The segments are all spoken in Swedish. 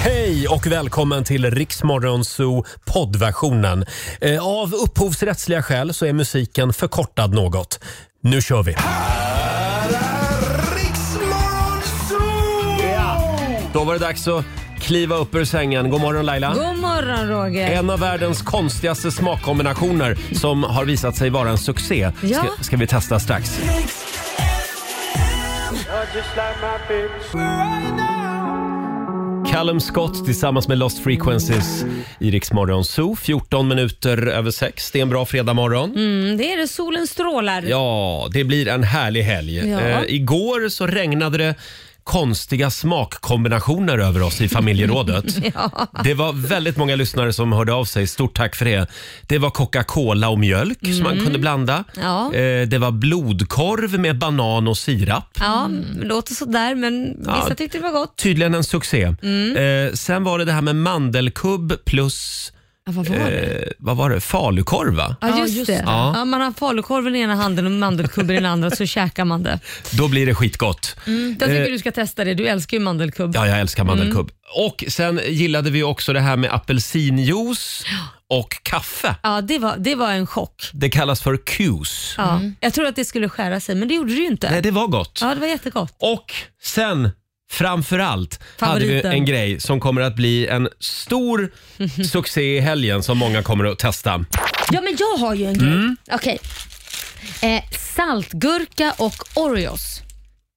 Hej och välkommen till Riksmorgonzoo poddversionen. Eh, Av upphovsrättsliga skäl så är musiken förkortad något. Nu kör vi! Då var det dags att kliva upp ur sängen. God morgon Laila! God morgon Roger. En av världens konstigaste smakkombinationer som har visat sig vara en succé Ja. ska, ska vi testa strax. Callum Scott tillsammans med Lost Frequencies i Rix Morgon Zoo. 14 minuter över sex. Det är en bra fredagmorgon. Mm, det är det, solen strålar. Ja, det blir en härlig helg. Ja. Eh, igår så regnade det konstiga smakkombinationer över oss i familjerådet. Det var väldigt många lyssnare som hörde av sig. Stort tack för det. Det var Coca-Cola och mjölk som man kunde blanda. Mm. Ja. Eh, Det var blodkorv med banan och sirap. Ja, låter sådär men vissa tyckte det var gott. Tydligen en succé. Mm. Eh, Sen var det det här med mandelkubb plus Ja, vad var det? eh, vad var det? falukorv va? Ja, just, det. Ja. Ja. man har falukorven i ena handen och mandelkubben i den andra så käkar man det. Då blir det skitgott. Jag tycker du ska testa det, du älskar ju mandelkubb. Eh. Ja, jag älskar Mm. mandelkubb. Och sen gillade vi också det här med apelsinjuice och kaffe. Ja, det, var, det var en chock. Det kallas för Qs. Ja. Mm. Jag trodde att det skulle skära sig men det gjorde det ju inte. Nej, det var gott. Ja, det var jättegott. Och sen, framför allt, hade Favoriten. vi en grej som kommer att bli en stor succé i helgen som många kommer att testa. Ja, men jag har ju en grej. Mm. Okej. Eh, saltgurka och Oreos.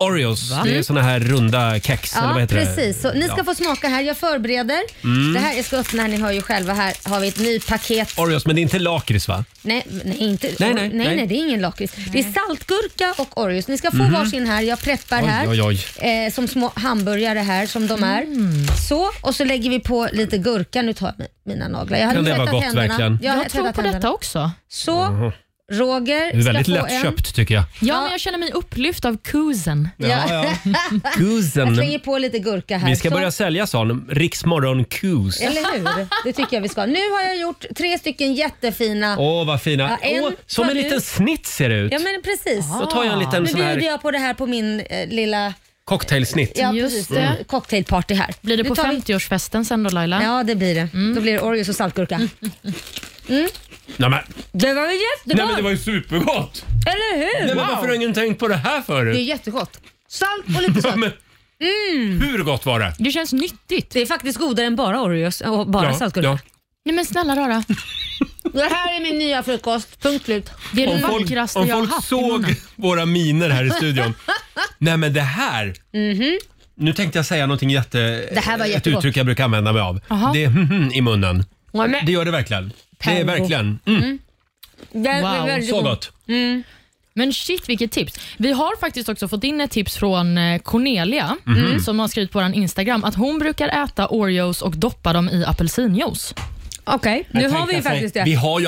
Oreos, det är såna här runda kex eller vad Ja, heter det? precis. Så, ni ska Ja. Mm. få smaka här. Jag förbereder. Det här, jag ska öppna här. Ni hör ju själva. Här har vi ett nytt paket. Oreos, men det är inte lakrits va? Nej, nej, inte. Nej, nej, nej, nej. Mhm. nej. det är ingen lakrits. Det är saltgurka och Oreos. Ni ska få varsin här. Jag preppar Oj, här. oj, oj. Eh, som små hamburgare här som de är. Mm. Så, och så lägger vi på lite gurka. Nu tar jag mi- mina naglar. Jag hade Kan det vara tvättat gott, händerna. verkligen? Jag, har Jag tror tvättat på händerna. detta också. Så, Roger Det är väldigt ska få en. lättköpt Mm. tycker jag. Ja, men jag känner mig upplyft av kusen. Ja, ja. Jag Kusen. slänger på lite gurka här. Vi ska Så- börja sälja sån. Riksmorgon Qs. Eller hur? Det tycker jag vi ska. Nu har jag gjort tre stycken jättefina. Åh, vad fina. Ja, en Åh, som tar en du. liten snitt ser det ut. Ja men precis. Då tar jag en liten Nu sån bjuder här jag på det här på min eh, lilla cocktailsnitt. ja, Just precis, det. eh, cocktailparty här. Blir det Nu på tar vi- 50-årsfesten sen då Laila? Ja det blir det. Då blir det Oreos och saltgurka. Nej, men, Det var ju jättegott! nej, men det var ju supergott! Eller hur? Nej, men varför har ingen tänkt på det här Det är förut? jättegott. Salt och lite sött. Men, Mm. Hur gott var det? Det känns nyttigt. Det är faktiskt godare än bara Oreos och bara saltgurka. ja. Nej men snälla rara, Det här är min nya frukost. Punkt slut. det är Om det folk, vackraste om jag har folk haft såg våra miner här i studion. nej men det här! Nu tänkte jag säga någonting jätte... Mhm. Det här var ett jättegott. uttryck jag brukar använda mig av. Jaha. Det är mhm i munnen. Ja, men, Det gör det verkligen. Det är Pergo. verkligen. Mm, det är Wow, väldigt så god. gott. Men shit vilket tips. Vi har faktiskt också fått in ett tips från eh, Cornelia Mhm. mm, som har skrivit på vår Instagram att hon brukar äta Oreos och doppa dem i apelsinjuice. Okej, nu Jag har vi ju tänkte faktiskt säga, det. Vi har ju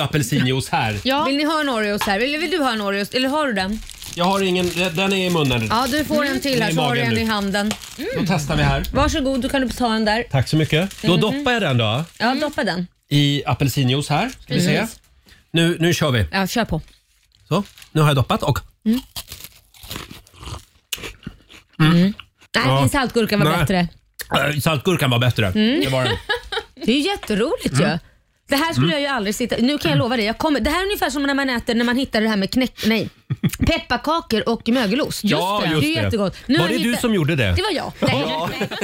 apelsinjuice här. Ja, Vill ni ha en Oreos här? Eller vill du ha en Oreos? Eller har du den? Jag har ingen... Den är i munnen. Ja, du får en till Den här så är Mm. i har du magen en nu. i handen. Då testar vi här. Varsågod, du kan ta en där. Tack så mycket. Mhm. Då doppar jag den då Ja, doppa den. i apelsinjuice här. Ska vi se. Precis. Nu, nu kör vi. Ja, kör på. Så, nu har jag doppat och... Nej, Ja. min saltgurka var Nej. bättre. Äh, saltgurkan var bättre. Mm. Det var den. Det är ju jätteroligt Mm. ju. Det här skulle jag ju aldrig sitta... Nu kan jag lova dig, jag kommer... det här är ungefär som när man äter när man hittar det här med knäck... Nej. Pepparkakor och mögelost. Ja, just det är ju det. jättegott. Nu var har det jag du hittat- som gjorde det? Det var jag. Nej.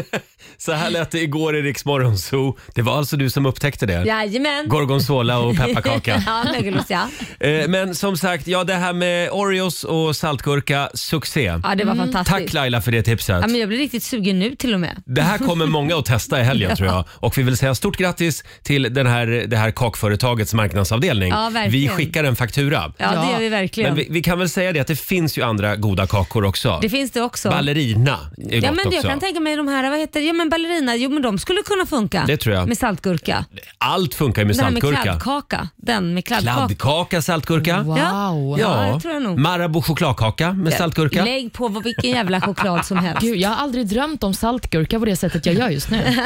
Ja. Så här lät det igår i Rix Morgon Zoo. Det var alltså du som upptäckte det. Jajamän. Gorgonzola och pepparkaka. Ja, mögelost ja. Eh, Men som sagt, ja det här med Oreos och saltgurka, succé. Ja, det var fantastiskt. Mm. Tack Laila för det tipset. Ja, men jag blir riktigt sugen nu till och med. Det här kommer många att testa i helgen tror jag. Och vi vill säga stort grattis till den här, det här kakföretagets marknadsavdelning. Ja, verkligen. vi skickar en faktura. Ja, Ja. det gör vi verkligen. Men vi, vi kan väl säga det att det finns ju andra goda kakor också. Det finns det också. Ballerina är gott Ja, men också. jag kan tänka mig de här, vad heter det? Ja, men ballerina, jo men de skulle kunna funka. Det tror jag. Med saltgurka. Allt funkar ju med Den här med saltgurka. kladdkaka. Den med kladdkaka. Kladdkaka, saltgurka. Wow. Ja. Ja, det tror jag nog. Marabou chokladkaka med saltgurka. Lägg på vad- vilken jävla choklad som helst. Gud, jag har aldrig drömt om saltgurka på det sättet jag gör just nu.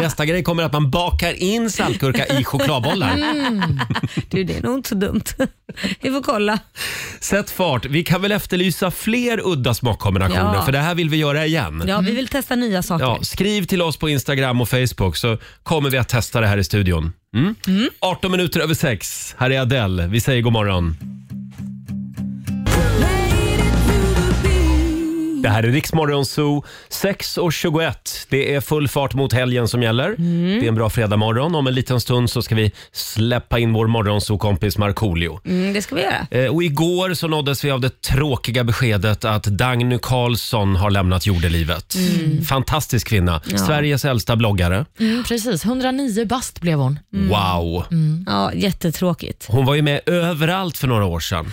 Nästa grej kommer att man bakar in Mm. saltgurka i chokladbollar. Du, det är nog inte så dumt. Vi får kolla. Sätt fart. Vi kan väl efterlysa fler udda smakkombinationer Ja. för det här vill vi göra igen. Ja, vi vill testa nya saker. Ja, skriv till oss på Instagram och Facebook så kommer vi att testa det här i studion. Mm. 18 minuter över sex. Här är Adele. Vi säger god morgon. Det här är Riksmorgon Zoo, 6.21. Det är full fart mot helgen som gäller. Det är en bra fredagmorgon. Om en liten stund så ska vi släppa in vår morgonzoo-kompis Markoolio. Mm, det ska vi göra. Eh, Och igår så nåddes vi av det tråkiga beskedet att Dagny Carlsson har lämnat jordelivet. Mm. Fantastisk kvinna. Sveriges äldsta bloggare. Mm, precis, 109 bast blev hon. Mm. Wow! Ja, jättetråkigt. Hon var ju med överallt för några år sedan.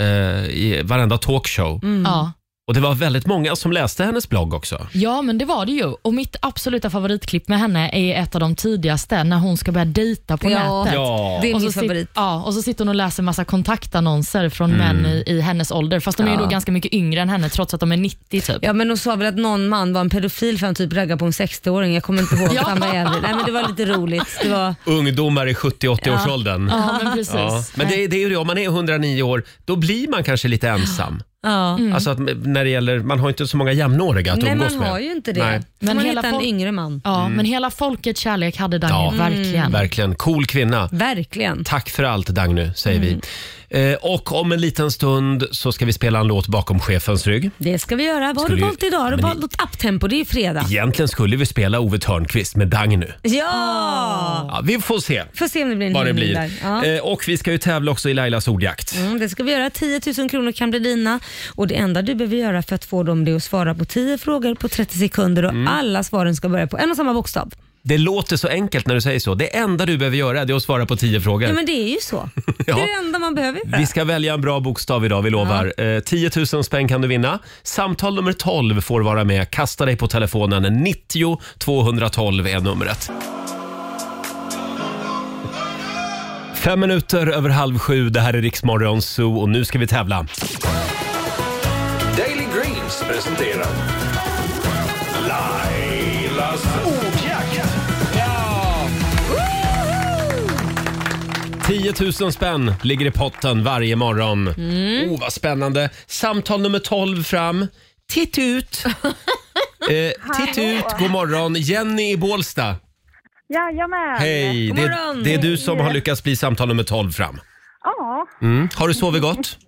Eh, I varenda talkshow. Mm. Ja. Och det var väldigt många som läste hennes blogg också. ja, men det var det ju. Och mitt absoluta favoritklipp med henne är ett av de tidigaste, när hon ska börja dejta på Ja. nätet. Ja. Det är Och min så, sit- favorit. ja, och så sitter hon och läser massa kontaktannonser från Mm. män i, i hennes ålder. Fast de är ju Ja. då ganska mycket yngre än henne trots att de är 90 typ. Ja men hon sa väl att någon man var en pedofil för han typ raggade på en 60-åring. Jag kommer inte ihåg att han var äldre. Nej men det var lite roligt. Det var, Ungdomar i 70-80-årsåldern. Ja, men precis. Ja. Men det, är- det är ju det, om man är 109 år, då blir man kanske lite ensam. ja. Alltså att, när det gäller, man har inte så många jämnåriga att Mm. Nej umgås man med. har ju inte det. Nej. Men Men man hela hittar en folk- yngre man. Ja, men hela folkets kärlek hade Dagny, Mm. Ja. Mm. verkligen. Verkligen. Cool kvinna. Verkligen. Tack för allt Dagny, säger vi. Eh, och om en liten stund så ska vi spela en låt bakom chefens rygg. Det ska vi göra. Vad har Skulle du ju- valt idag? Har du Men valt något uptempo? Det är ju fredag. Egentligen skulle vi spela Ove Thörnqvist med Dagny. Ja! Ja, vi får se Får se om det blir en vad det hyllning blir. där. Ja. Eh, och vi ska ju tävla också i Lailas ordjakt. Mm, det ska vi göra. 10 000 kronor kan bli dina. Och det enda du behöver göra för att få dem det är att svara på 10 frågor på 30 sekunder och Mm. alla svaren ska börja på en och samma bokstav. Det låter så enkelt när du säger så. Det enda du behöver göra det är att svara på tio frågor. Ja men det är ju så. Det är det enda man behöver göra. Vi ska välja en bra bokstav idag, vi lovar. Eh, 10 000 spänn kan du vinna. Samtal nummer 12 får vara med. Kasta dig på telefonen. 90 212 är numret. Fem minuter över halv sju. Det här är Riksmorgon Zoo och nu ska vi tävla. Daily Greens presenterar Lailas ordjakt. 10 000 spänn ligger i potten varje morgon. Oh, vad spännande. Samtal nummer 12 fram. Titt ut! Eh, titt ut, god morgon. Jenny i Bålsta. Jajamän. Hej! Det, morgon. det är du som har lyckats bli samtal nummer 12 fram. Ja, Mm. Har du sovit gott?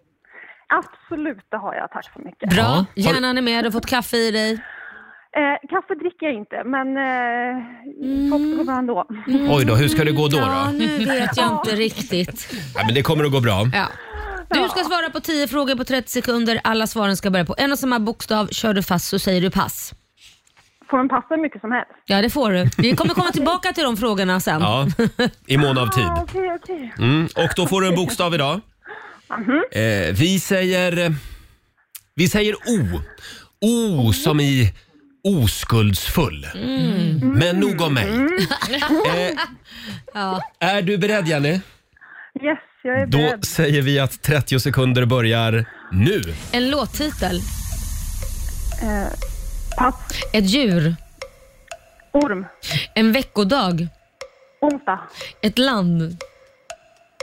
absolut det har jag. Tack så mycket. Bra, Ja. Har- hjärnan är med, du har fått kaffe i dig. Eh, kaffe dricker jag inte, men eh, topp går bra ändå. Oj då, hur ska det gå då? Ja, då? nu vet jag inte riktigt. Ja, men det kommer att gå bra. Ja. Du ska svara på 10 frågor på 30 sekunder. Alla svaren ska börja på en och samma bokstav. Kör du fast så säger du pass. Får de passa hur mycket som helst? Ja, det får du. Vi kommer komma tillbaka till de frågorna sen. Ja, I mån av Ah, tid. Okej, okej. Mm. Och då får du en bokstav idag. Eh, vi säger... Vi säger O. O som i oskuldsfull. Men nog om mig. Eh, Är du beredd Jenny? Yes, jag är Då beredd. säger vi att 30 sekunder börjar nu. En låttitel. Pass. Ett djur. Orm. En veckodag. Onsdag. Ett land.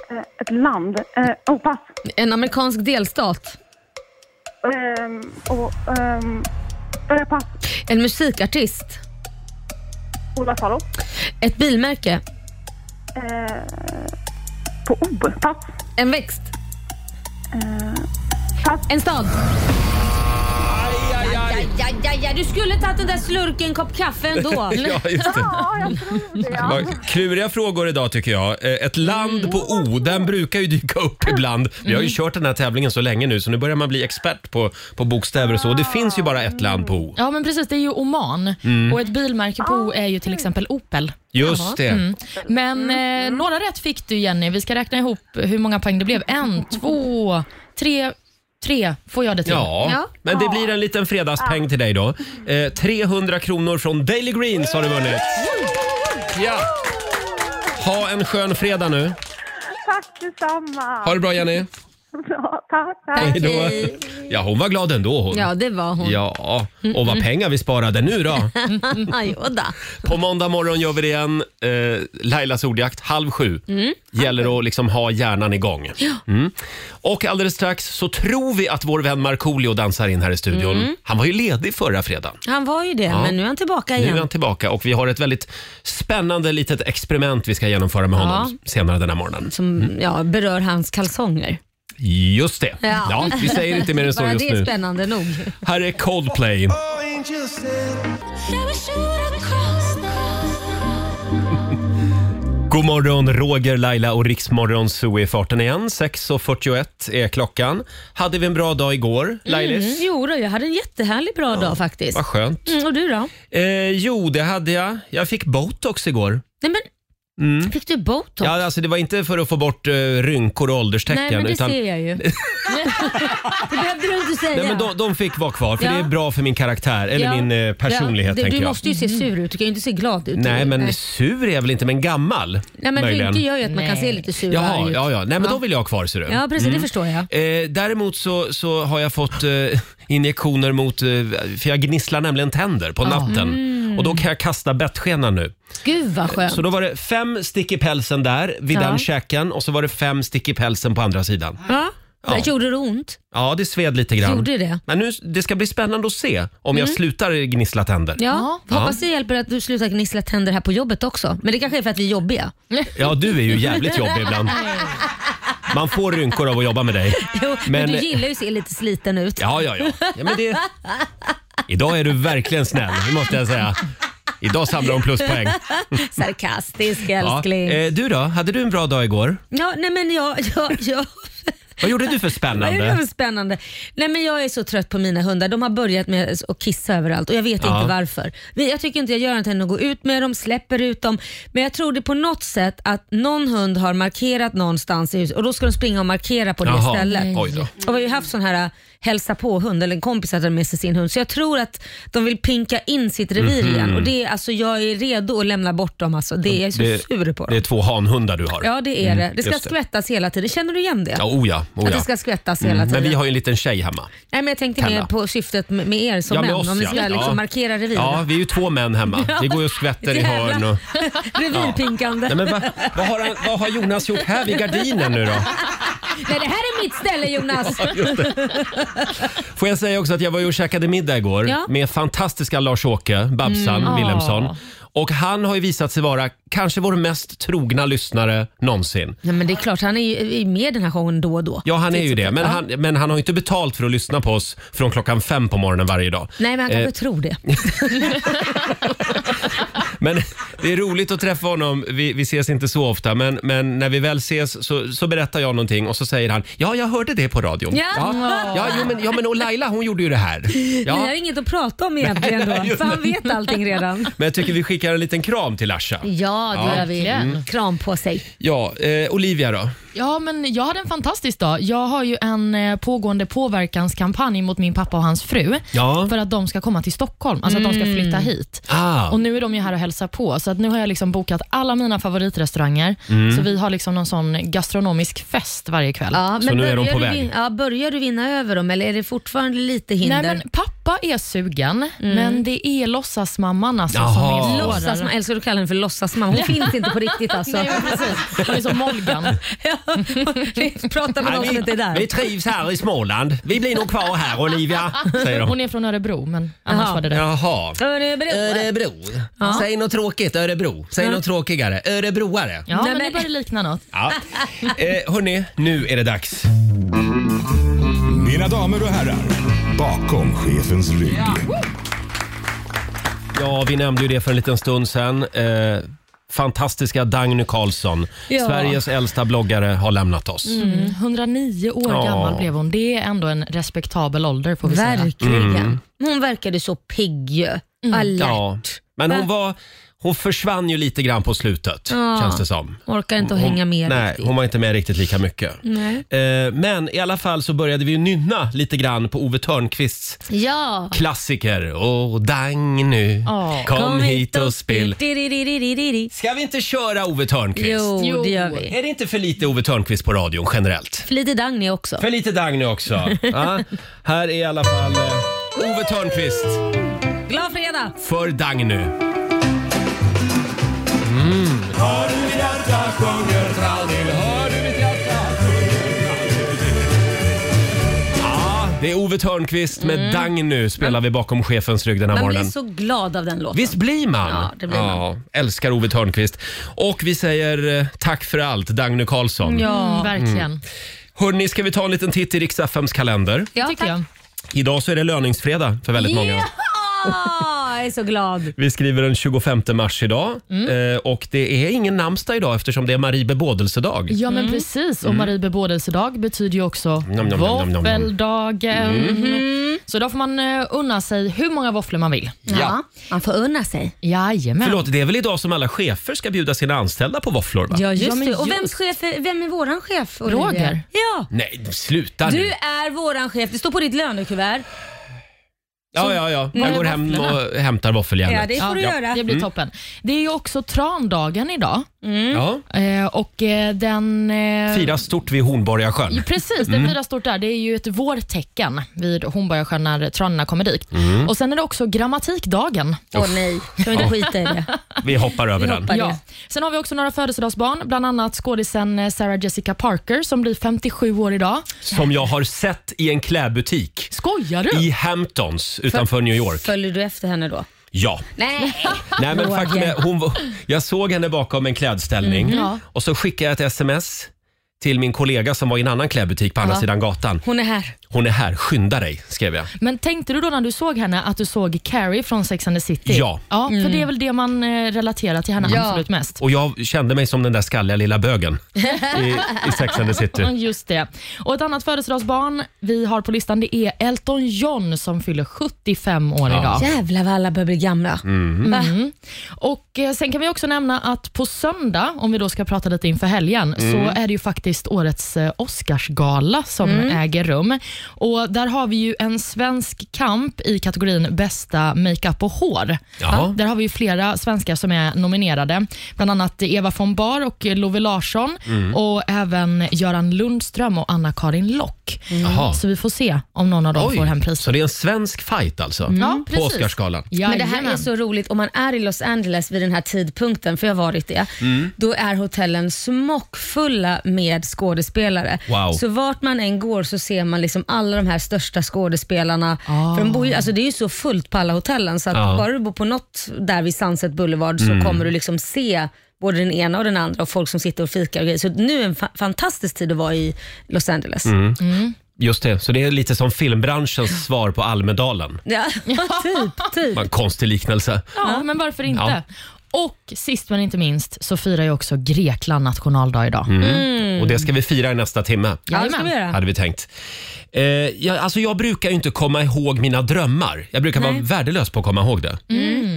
Eh, ett land. Eh, oh, pass. En amerikansk delstat. Ehm, och, ehm, eh, pass. En musikartist. Ola Salo. Ett bilmärke. Eh, på O. Pass. En växt. Pass. En stad. Aj, aj, aj, aj. Du skulle tagit den där slurken kopp kaffe ändå. Ja, just det. Ja, jag tror det. Det Ja. var kluriga frågor idag tycker jag. Eh, Ett land på O, den brukar ju dyka upp ibland. Vi har ju kört den här tävlingen så länge nu så nu börjar man bli expert på, på bokstäver och så. Det finns ju bara ett land på O. Ja, men precis. Det är ju Oman. Och ett bilmärke på O är ju till exempel Opel. Mm. Just Mm. det. Men eh, några rätt fick du, Jenny. Vi ska räkna ihop hur många poäng det blev. En, två, tre. Tre får jag det till. Ja, Ja. men det blir en liten fredagspeng till dig då. Eh, 300 kronor från Daily Greens har du vunnit. Ja. Ha en skön fredag nu. Tack detsamma. Ha det bra Jenny. Ja, tack, tack. Hej då. Ja, hon var glad ändå hon. Ja, det var hon. Ja, och vad pengar vi sparade nu då. Jodå. På måndag morgon gör vi det igen. Eh, Lailas ordjakt, halv sju. Mm. Gäller att liksom ha hjärnan igång. Mm. Och alldeles strax så tror vi att vår vän Markoolio dansar in här i studion. Mm. Han var ju ledig förra fredagen. Han var ju det, men nu är han tillbaka Nu är igen. han tillbaka och vi har ett väldigt spännande litet experiment vi ska genomföra med honom senare den här morgonen. Som ja, berör hans kalsonger. Just det. Ja. vi säger inte mer än så Bara just det är nu. spännande nog. Här är Coldplay. God morgon, Roger, Laila och Riksmorgon Zoo i farten igen. 6.41 är klockan. Hade vi en bra dag igår, Lailis? Mm, Jo då, jag hade en jättehärlig bra dag faktiskt. Vad skönt. Mm, och du då? Eh, jo, det hade jag. Jag fick botox igår. Nej, men, Mm. Fick du botox? Ja, alltså, det var inte för att få bort eh, rynkor och ålderstecken. Nej, men det utan, ser jag ju. det behövde du inte säga. nej, men de, de fick vara kvar, för Ja. det är bra för min karaktär, eller Ja. min eh, Ja, personlighet du, tänker du jag. måste ju se sur ut, du kan ju inte se glad ut. Nej, men sur är jag väl inte, men gammal Nej, men möjligen. rynke gör ju att man kan se Nej. lite sur och Jaha, arg ut. ja, ja. Nej, men då vill jag ha kvar, ser du. ja, precis det förstår jag. Eh, däremot så, så har jag fått eh, injektioner mot, eh, för jag gnisslar nämligen tänder på natten. Mm. Och då kan jag kasta bettskenan nu. Gud vad skönt. Så då var det fem stick i pälsen där, vid Ja. den käken. Och så var det fem stick i pälsen på andra sidan. Ja. Ja. Gjorde det ont? Ja, det sved lite grann. Gjorde det? Mm. Men nu, det ska bli spännande att se om jag slutar gnissla tänder. Ja, Ja. hoppas det hjälper att du slutar gnissla tänder här på jobbet också. Men det kanske är för att vi är jobbiga. Ja, du är ju jävligt jobbig ibland. Man får rynkor av att jobba med dig. Jo, men, Men- du gillar ju att se lite sliten ut. Ja, ja, ja. ja men det... Idag är du verkligen snäll, det måste jag säga. Idag samlar hon pluspoäng. Sarkastisk Ja. älskling. Ja, Eh, du då, hade du en bra dag igår? nej men jag... jag, jag Vad gjorde du för det är spännande? väl spännande. Nej men jag är så trött på mina hundar. De har börjat med att kissa överallt och jag vet Ja. inte varför. Vi- Jag tycker inte jag gör något än att gå ut med dem, släpper ut dem. Men jag tror det på något sätt att någon hund har markerat någonstans i huset och då ska de springa och markera på det Jaha. stället. Oj då. Och vi har ju haft sån här äh, hälsa på-hund, eller en kompis hade med sig sin hund. Så jag tror att de vill pinka in sitt revir Mhm. igen. Och det är, alltså, jag är redo att lämna bort dem. Alltså. Det, jag är så Det- sur på dem. Det är två hanhundar du har. ja, det är det. Det ska just det. skvättas hela tiden. Känner du igen det? Ja, oh ja, oh Att det ja. ska skvättas hela Mm, Men tiden. vi har ju en liten tjej hemma. Nej, men jag tänkte Kalla. mer på syftet med med er som Ja, män. med oss om ni ska ja. liksom Ja. markera revir. Ja, vi är ju två män hemma. Vi går ju och skvätter i Jävlar. hörn och... Revirpinkande. Nej, men va, vad, har han, vad har Jonas gjort här vid gardinen nu då? Nej, det här är mitt ställe Jonas. Får jag säga också att jag var ju och käkade middag igår Ja. Mm. med fantastiska Lars-Åke Babsan Wilhelmsson. Och han har ju visat sig vara kanske vår mest trogna lyssnare någonsin. Nej, men det är klart, han är ju är med i den här showen då och då. Ja, han är ju det. Men han, men han har ju inte betalt för att lyssna på oss från klockan fem på morgonen varje dag. Nej, men han kanske Eh. tror det. Men det är roligt att träffa honom. Vi, vi ses inte så ofta, men, men när vi väl ses så, så berättar jag någonting och så säger han “Ja, jag hörde det på radion”. Ja. ja, ja, jo, men, ja men och Laila hon gjorde ju det här. Ni Ja. har inget att prata om egentligen då, för han vet allting redan. Men jag tycker vi skickar en liten kram till Larsa. Ja, det Ja. Mm. gör vi. Mm. Verkligen. Kram på sig. Ja, eh, Olivia då? Ja, men jag hade en fantastisk dag. Jag har ju en eh, pågående påverkanskampanj mot min pappa och hans fru Ja. för att de ska komma till Stockholm, alltså att de ska flytta hit. Ah. Och Nu är de ju här och hälsar på, så att nu har jag liksom bokat alla mina favoritrestauranger. Mm. Så vi har liksom någon sån gastronomisk fest varje kväll. Ja, Så nu är de börjar på du väg. vin- Ja, börjar du vinna över dem eller är det fortfarande lite hinder? Nej, men pappa är sugen, men det är låtsasmamman alltså, som Jaha. är svårare. Låtsas, jag älskar att du kallar henne för låtsasmamma. Hon finns inte på riktigt alltså. Nej, men precis. Hon är som Molgan. Prata med någon som Nej, inte är där. vi trivs här i Småland. Vi blir nog kvar här Olivia, säger de. Hon är från Örebro, men annars Jaha. var det det. Jaha. Örebro. Örebro. Säg något tråkigt Örebro. Säg något tråkigare. Örebroare. Ja, Nej, men men- det börjar likna något. Ja. Eh, hörni, nu är det dags. Mina damer och herrar, bakom chefens rygg. Ja, vi nämnde ju det för en liten stund sedan. Eh, fantastiska Dagny Carlsson, Ja. Mm, Sveriges äldsta bloggare, har lämnat oss. 109 Mm. år Ja. gammal blev hon. Det är ändå en respektabel ålder får vi säga. Mm. Mm. Verkligen. Hon verkade så pigg ju. Alert. Ja. Men hon var, hon försvann ju lite grann på slutet, Ja. känns det som. Orkar inte att hänga med Nej, riktigt. hon var inte med riktigt lika mycket. Nej. Eh, Men i alla fall så började vi ju nynna lite grann på Ove Thörnqvists Ja. klassiker. Åh, dang nu, Ja. kom, hit och spill. Diririririririri. Ska vi inte köra Ove Thörnqvist? Jo, Jo. det gör vi. Är det inte för lite Ove Thörnqvist på radion generellt? För lite Dagny också. För lite Dagny också. ja, här är i alla fall eh, Ove Thörnqvist Glad fredag! för Dagny. Mm. Ja, Det är Ove Thörnqvist med Dagny spelar vi bakom chefens rygg den här Man morgonen. blir Mm. så glad av den låten. Visst blir man? Ja, det blir man. Älskar Ove Thörnqvist. Och vi säger eh, tack för allt, Dagny Karlsson. Mm, verkligen. Hörni, ska vi ta en liten titt i riks kalender? Ja, tycker jag. Idag så är det löningsfredag för väldigt många. Ja, jag är så glad. Vi skriver den 25 mars idag Mm. eh, och det är ingen namnsdag idag eftersom det är Marie bebådelsedag. Ja, men precis. Och Marie bebådelsedag betyder ju också nom, nom, nom, nom, nom. våffeldagen. Så då får man eh, unna sig hur många våfflor man vill. Ja, man får unna sig. Jajamän. Förlåt, det är väl idag som alla chefer ska bjuda sina anställda på våfflor? Va? Ja, just Ja, men det. Och vems just. chef är, vem är våran chef? Olivia? Roger. Ja, Nej, sluta nu. du är våran chef. Det står på ditt lönekuvert. Ja, ja, ja. Jag går hem och hämtar våffeljärnet. Ja, det får du göra. Det blir toppen. Det är ju också trandagen idag Ja. eh, och eh, den... eh, Fira stort vid Hornborgasjön. Precis, det Mm. firar stort där. Det är ju ett vårtecken vid Hornborgasjön när tranorna kommer dit. Mm. Och Sen är det också grammatikdagen. Åh nej, kan vi inte skita i det? Vi hoppar över Vi den. hoppar. Vad är Ja. det? Sen har vi också några födelsedagsbarn, bland annat skådisen eh, Sarah Jessica Parker som blir 57 år idag. Som jag har sett i en klädbutik Skojar du? i Hamptons utanför New York. Följer du efter henne då? Ja. Nej! Nej, men Roger. faktum är, hon, var- jag såg henne bakom en klädställning Mm. ja. och så skickade jag ett sms till min kollega som var i en annan klädbutik på andra sidan gatan. Hon är här. Hon är här, skynda dig, skrev jag. Men tänkte du då när du såg henne att du såg Carrie från Sex and the City? Ja. ja För det är väl det man eh, relaterar till henne absolut mest. Och jag kände mig som den där skalliga lilla bögen i, i Sex and the City. Mm, Just det. Och ett annat födelsedagsbarn vi har på listan det är Elton John som fyller 75 år idag. Jävlar vad alla börjar bli gamla. Mm. Och eh, Sen kan vi också nämna att på söndag, om vi då ska prata lite inför helgen, Mm. så är det ju faktiskt årets eh, Oscarsgala som äger rum. Och Där har vi ju en svensk kamp i kategorin bästa makeup och hår. Jaha. Där har vi ju flera svenskar som är nominerade. Bland annat Eva von Bar och Love Larsson Mm. och även Göran Lundström och Anna-Karin Lock. Jaha. Så vi får se om någon av dem får hem priset. Mm. så det är en svensk fight alltså? Ja, På precis. Oscarsgalan? Men det här är Jajamän. så roligt, om man är i Los Angeles vid den här tidpunkten, för jag har varit det, Mm. då är hotellen smockfulla med skådespelare. Wow. Så vart man än går så ser man liksom alla de här största skådespelarna. För de bor ju, alltså det är ju så fullt på alla hotellen, så att Ja. Mm. bara du bor på något där vid Sunset Boulevard så kommer du liksom se både den ena och den andra och folk som sitter och fikar och grejer. Så nu är en fa- fantastisk tid att vara i Los Angeles. Mm. Just det, så det är lite som filmbranschens svar på Almedalen. Ja, typ, typ. Vad en konstig liknelse. Ja, men varför inte? Ja. Och sist men inte minst så firar ju också Grekland nationaldag idag. Mm. Mm. Och det ska vi fira i nästa timme. Ja, det ska vi göra. hade vi tänkt. Eh, jag, alltså jag brukar ju inte komma ihåg mina drömmar. Jag brukar vara värdelös på att komma ihåg det.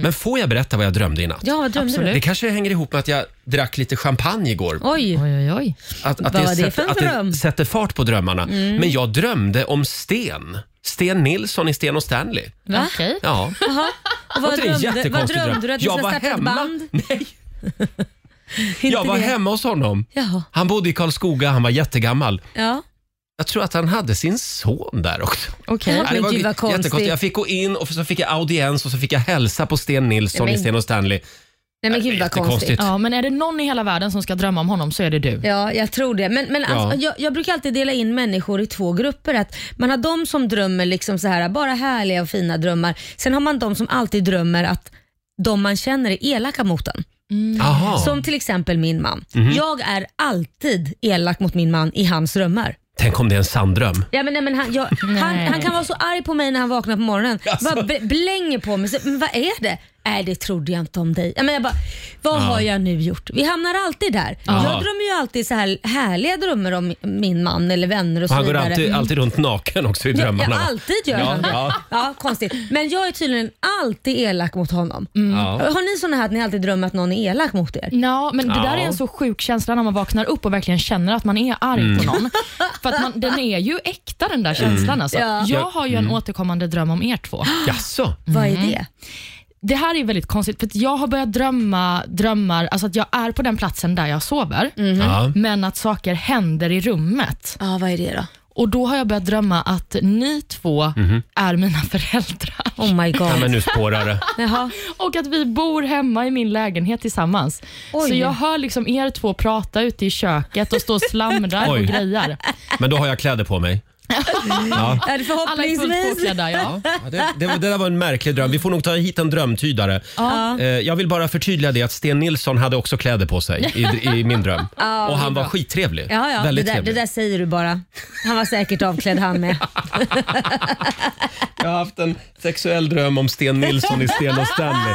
Men får jag berätta vad jag drömde i natt? Mm. Ja, vad drömde du? Det kanske hänger ihop med att jag drack lite champagne igår. Oj. Oj, oj, oj. Att, att vad var det sätter- för en att dröm? Mm. det sätter fart på drömmarna. Men jag drömde om Sten. Sten Nilsson i Sten och Stanley. Okej. Ja. Var Och vad, inte det en drömde, vad jättekonstig drömde du? Att du Jag ska var starta ett hemma. band? Nej, Inte jag var det. hemma hos honom. Jaha. Han bodde i Karlskoga, han var jättegammal. Ja. Jag tror att han hade sin son där också. Okej. Ja, det men var gud vad jättekonstigt. konstigt. Jag fick gå in och så fick jag audiens och så fick jag hälsa på Sten Nilsson Nej, i men- Sten och Stanley. Nej men gud vad konstigt. Ja. Ja, men är det någon i hela världen som ska drömma om honom så är det du. Ja, jag tror det. Men, men alltså, jag, jag brukar alltid dela in människor i två grupper. Att man har de som drömmer liksom så här, bara härliga och fina drömmar. Sen har man de som alltid drömmer att de man känner är elaka mot en. Aha. Som till exempel min man. Mhm. Jag är alltid elak mot min man i hans drömmar. Tänk om det är en sanddröm. Ja, men, nej, men han, jag, han, han kan vara så arg på mig när han vaknar på morgonen. Alltså. Bara bl- blänger på mig. Så, men vad är det? Nej, det trodde jag inte om dig. Men jag bara, vad har jag nu gjort? Vi hamnar alltid där. Aha. Jag drömmer ju alltid så här härliga drömmar om min man eller vänner och så Han går vidare. alltid, alltid runt naken också i Ja, drömmarna. va? alltid gör Ja, han det. ja. Ja. konstigt. Men jag är tydligen alltid elak mot honom. Mm. Ja. Har ni såna här att ni alltid drömmer att någon är elak mot er? Ja, men det Ja. där är en så sjuk känsla när man vaknar upp och verkligen känner att man är arg på någon. För att man, den är ju äkta den där känslan. Alltså. Ja. Jag har ju en återkommande dröm om er två. Jaså? Vad är det? Det här är väldigt konstigt, för att jag har börjat drömma drömmar, alltså att jag är på den platsen där jag sover, Mm. Ja. men att saker händer i rummet. Ja, vad är det då? Och Då har jag börjat drömma att ni två är mina föräldrar. Oh my ja, god. men nu spårar det. Jaha. Och att vi bor hemma i min lägenhet tillsammans. Oj. Så jag hör liksom er två prata ute i köket och stå och slamrar och Oj. grejar. Men då har jag kläder på mig. Ja. Är det Alla är fullt förhoppningsvis? påklädda. Ja. Ja, det, det, var- det där var en märklig dröm. Vi får nog ta hit en drömtydare. Eh, Jag vill bara förtydliga det att Sten Nilsson hade också kläder på sig i, i min dröm. Och han var skittrevlig. Ja, ja. Det Väldigt där, det trevlig. där säger du bara. Han var säkert avklädd han med. Jag har haft en sexuell dröm om Sten Nilsson i Sten och Stanley.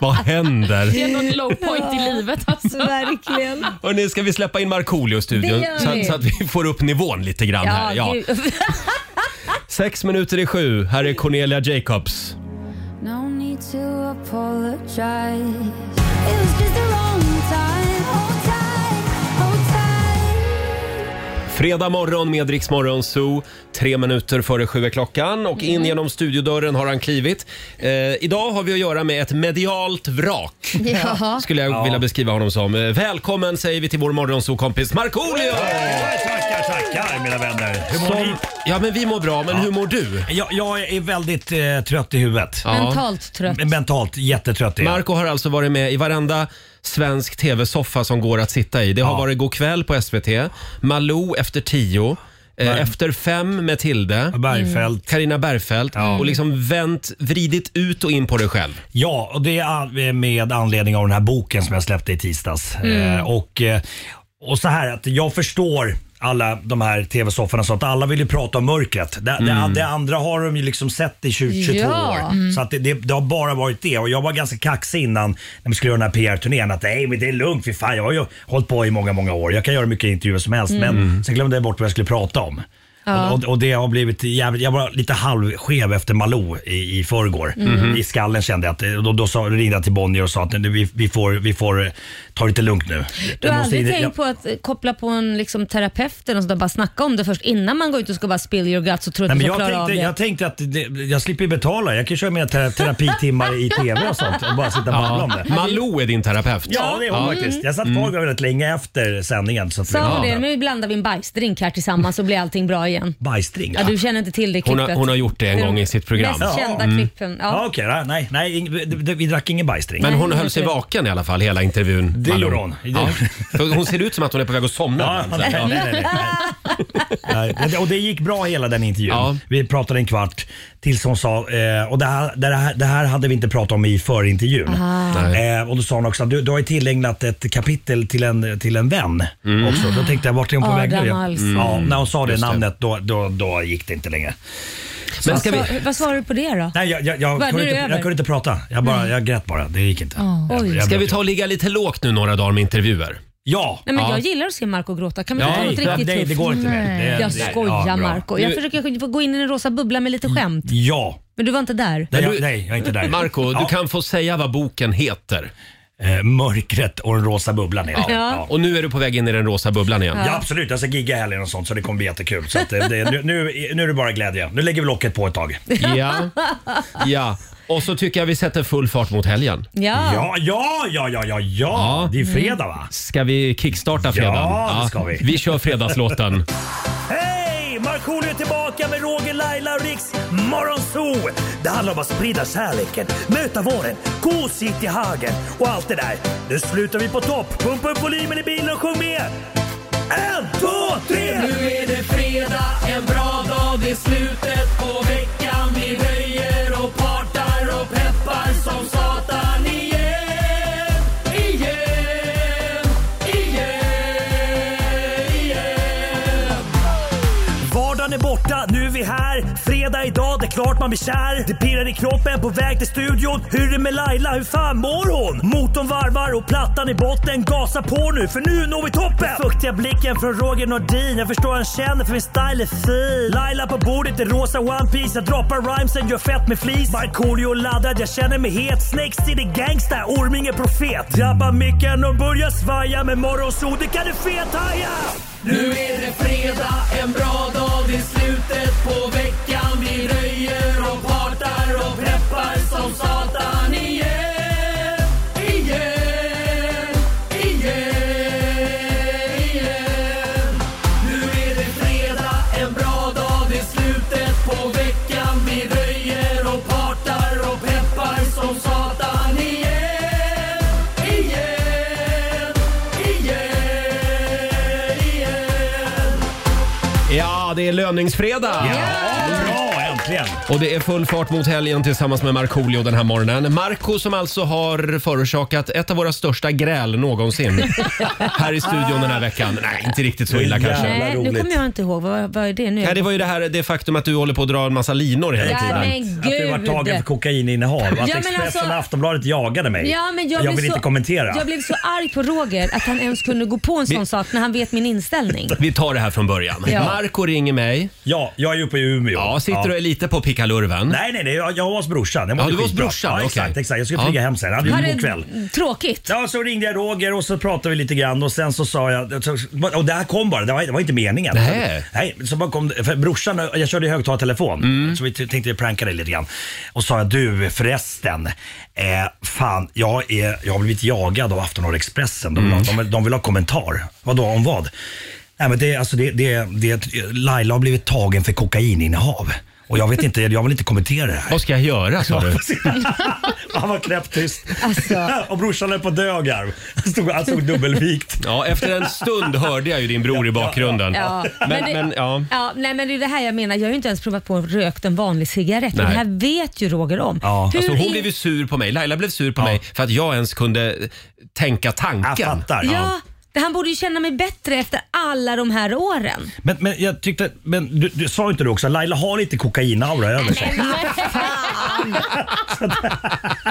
Vad händer? Det är någon low point i livet. Alltså. Verkligen. Och nu ska vi släppa in Markoolio i studion Det gör så, vi. att- så att vi får upp nivån lite grann här. Ja. gud. Sex minuter i sju. Här är Cornelia Jacobs. No need to apologize. It was just the wrong time. Hold tight, hold tight. Fredag morgon med Rix Morgon Zoo. Tre minuter före sju är klockan och in genom studiodörren har han klivit. Eh, idag har vi att göra med ett medialt vrak. Jaha. Skulle jag vilja beskriva honom som. Eh, Välkommen säger vi till vår morgonzoo-kompis Markoolio! Tackar, tackar mina vänner. Hur mår ni? Som, ja men vi mår bra, men hur mår du? Jag, jag är väldigt eh, trött i huvudet. Mentalt trött. Mentalt jättetrött är jag. Marco har alltså varit med i varenda svensk tv-soffa som går att sitta i. Det har varit God kväll på SVT, Malou efter tio, eh, Efter fem med Tilde. Bergfeldt. Karina Bergfeldt och liksom vänt, vridit ut och in på dig själv. Ja, och det är an- med anledning av den här boken som jag släppte i tisdags. Eh, och, eh, och så här att jag förstår alla de här tv-sofforna så att alla vill ju prata om mörkret. Det, det, det andra har de ju liksom sett i 20, 22 Ja. år. Så att det, det, det har bara varit det. Och jag var ganska kaxig innan när vi skulle göra den här PR-turnén att nej men det är lugnt, för fan jag har ju hållit på i många, många år. Jag kan göra mycket intervjuer som helst. Men sen glömde jag bort vad jag skulle prata om. Och, och, och det har blivit jävligt, jag var lite halvskev efter Malou i, i förrgår. Mhm. I skallen kände jag att, och då, då sa, ringde jag till Bonnier och sa att nu, vi, vi, får, vi får eh, ta det lite lugnt nu. Du Jag har måste aldrig in- tänkt jag- på att eh, koppla på en liksom, terapeut eller något sånt där, bara snacka om det först innan man går ut och ska bara spill your guts och tror att Nej, du men ska jag, klara tänkte, av det. jag tänkte att det, jag slipper betala. Jag kan köra mina ter- terapitimmar i TV och sånt och bara sitta och babbla om det. Malou är din terapeut. Ja, det är hon faktiskt. Jag satt kvar väldigt länge efter sändningen. Så att Mm. Sa hon vi- det? Nu blandar vi en bajsdrink här tillsammans så blir allting bra igen. Bajsdrink? Ja, du känner inte till det Hon klippet. har, hon har gjort det en gång i sitt program. Mest Ja. kända klippen. Ja. Ja, okej. då. nej, nej, ing- vi- vi- vi drack ingen bajsdrink. Men hon höll sig vaken i alla fall hela intervjun. Det Malou. gjorde hon. Det Ja. gjorde För Hon ser ut som att hon är på väg att somna. Ja, ibland, så nej, här. nej, nej, nej. nej. Och det gick bra hela den intervjun. Ja. Vi pratade en kvart tills hon sa, eh, och det här, det, här, det här hade vi inte pratat om i förintervjun. Nej. Eh, och då sa hon också att du, du har ju tillägnat ett kapitel till en, till en vän. Också. Då tänkte jag, vart är hon på väg nu? Adam Ja, Alsing. Ja, när hon sa det Mm. Just det. namnet då, då, då gick det inte längre. Men ska vi... Vad- Vad svarar du på det då? Nej, jag, jag, jag, Vad, nu kunde, är det inte, över? Ah, jag kunde inte prata. Jag, bara, jag grät bara. Det gick inte. Jag, jag, Ska vi ta och ligga lite lågt nu några dagar med intervjuer? Ja! Nej, men Ja. Jag gillar att se Marco gråta. Kan man Ja, inte ta något Ja, riktigt nej, tufft? det går inte mer. Det- Jag det- ja, skojar bra. Marco. Jag Nu- försöker få gå in i den rosa bubblan med lite skämt. Ja. Men du var inte där. Nej, du- jag, nej, jag är inte där. Marco, ja. du kan få säga vad boken heter. Eh, mörkret och den rosa bubblan är det. Ja. Ja. Och nu är du på väg in i den rosa bubblan igen. Ja absolut, jag ska gigga i helgen och sånt så det kommer bli jättekul. Så att eh, det, nu, nu, nu är det bara glädje. Nu lägger vi locket på ett tag. Ja. ja. Och så tycker jag vi sätter full fart mot helgen. Ja. Ja, ja, ja, ja, ja, ja. Det är fredag va? Ska vi kickstarta fredagen? Ja, det ska vi. Vi kör fredagslåten. Hej! Markoolio är tillbaka med Roger, Laila och Riks Morgonzoo! Det handlar om att sprida kärleken, möta våren, gosigt i hagen och allt det där. Nu slutar vi på topp! Pumpa upp volymen i bilen och sjung med! En, två, tre! Nu är det fredag, en bra dag, det är slutet på veckan. Vi röjer och partar och peppar som satan igen. Igen, igen, igen. Vardagen är borta, nu är vi här. Fredag fredag idag, det är klart man blir kär. Det pirrar i kroppen på väg till studion. Hur är det med Laila, hur fan mår hon? Motorn varvar och plattan i botten. Gasa på nu, för nu når vi toppen! Den fuktiga blicken från Roger Nordin. Jag förstår han känner för min style är fin. Laila på bordet i rosa One Piece Jag droppar rhymesen, gör fett med flis. Markoolio laddad, jag känner mig het. Snake City gangsta, Orminge profet. Drabbar micken och börjar svaja. Med morgonsol, det kan du fethaja! Nu är det fredag, en bra dag, det är slutet på veckan Vi röjer och partar och preppar som satan igen Igen, igen, igen Nu är det fredag, en bra dag, det är slutet på veckan Vi röjer och partar och peppar som satan igen Igen, igen, igen Ja, det är löningsfredag! Bra, äntligen! Och det är full fart mot helgen tillsammans med Markoolio den här morgonen. Marco som alltså har förorsakat ett av våra största gräl någonsin här i studion den här veckan. Nej, inte riktigt så illa kanske. Jävlar Nej, nu roligt. kommer jag inte ihåg. Vad, vad är det nu? Nej, det var ju det här det faktum att du håller på att dra en massa linor hela ja, tiden. men gud. Att du var tagen för kokaininnehav. Att men Expressen alltså- och Aftonbladet jagade mig. Ja, men jag jag blev vill så, inte kommentera. Jag blev så arg på Roger att han ens kunde gå på en sån sak när han vet min inställning. Vi tar det här från början. Ja. Marco ringer mig. Ja, jag är ju uppe i Umeå. Ja, sitter och är lite på pickalurven. Nej, nej, nej. Jag, jag var hos brorsan. Jag Ja, mådde du var hos skitbra. brorsan, Ja, okej. exakt, exakt. Jag skulle Ja. flyga hem sen. Jag hade Var ju en det god kväll. tråkigt? Ja, så ringde jag Roger och så pratade vi lite grann och sen så sa jag... Och det här kom bara, det var, det var inte meningen. Nej. Nej, så bara kom det- för brorsan, jag körde i högtalartelefon. Så vi t- tänkte pranka dig lite grann. Och sa jag, du förresten, eh, fan jag, är, jag har blivit jagad av Aftonbladet Expressen. De, vill ha, de, vill- de vill ha kommentar. Vadå, om vad? Nej, men det, alltså det, det, det, Laila har blivit tagen för kokaininnehav. Och jag vet inte, jag vill inte kommentera det här. Vad ska jag göra sa du? Han var knäpptyst. Alltså. Och brorsan är på dögarv. Han stod, han stod dubbelvikt. Ja, efter en stund hörde jag ju din bror i bakgrunden. Ja, Men, men ja. ja, nej, men det är det här jag menar. Jag har ju inte ens provat på att rökt en vanlig cigarett. och Det Nej. här vet ju Roger om. Ja, Hur Alltså hon i- blev ju sur på mig. Laila blev sur på mig för att jag ens kunde tänka Jag tanken. fattar. ja, det- han borde ju känna mig bättre efter alla de här åren. Men, men jag tyckte, men du, du sa inte det också, Laila har lite kokainaura över sig.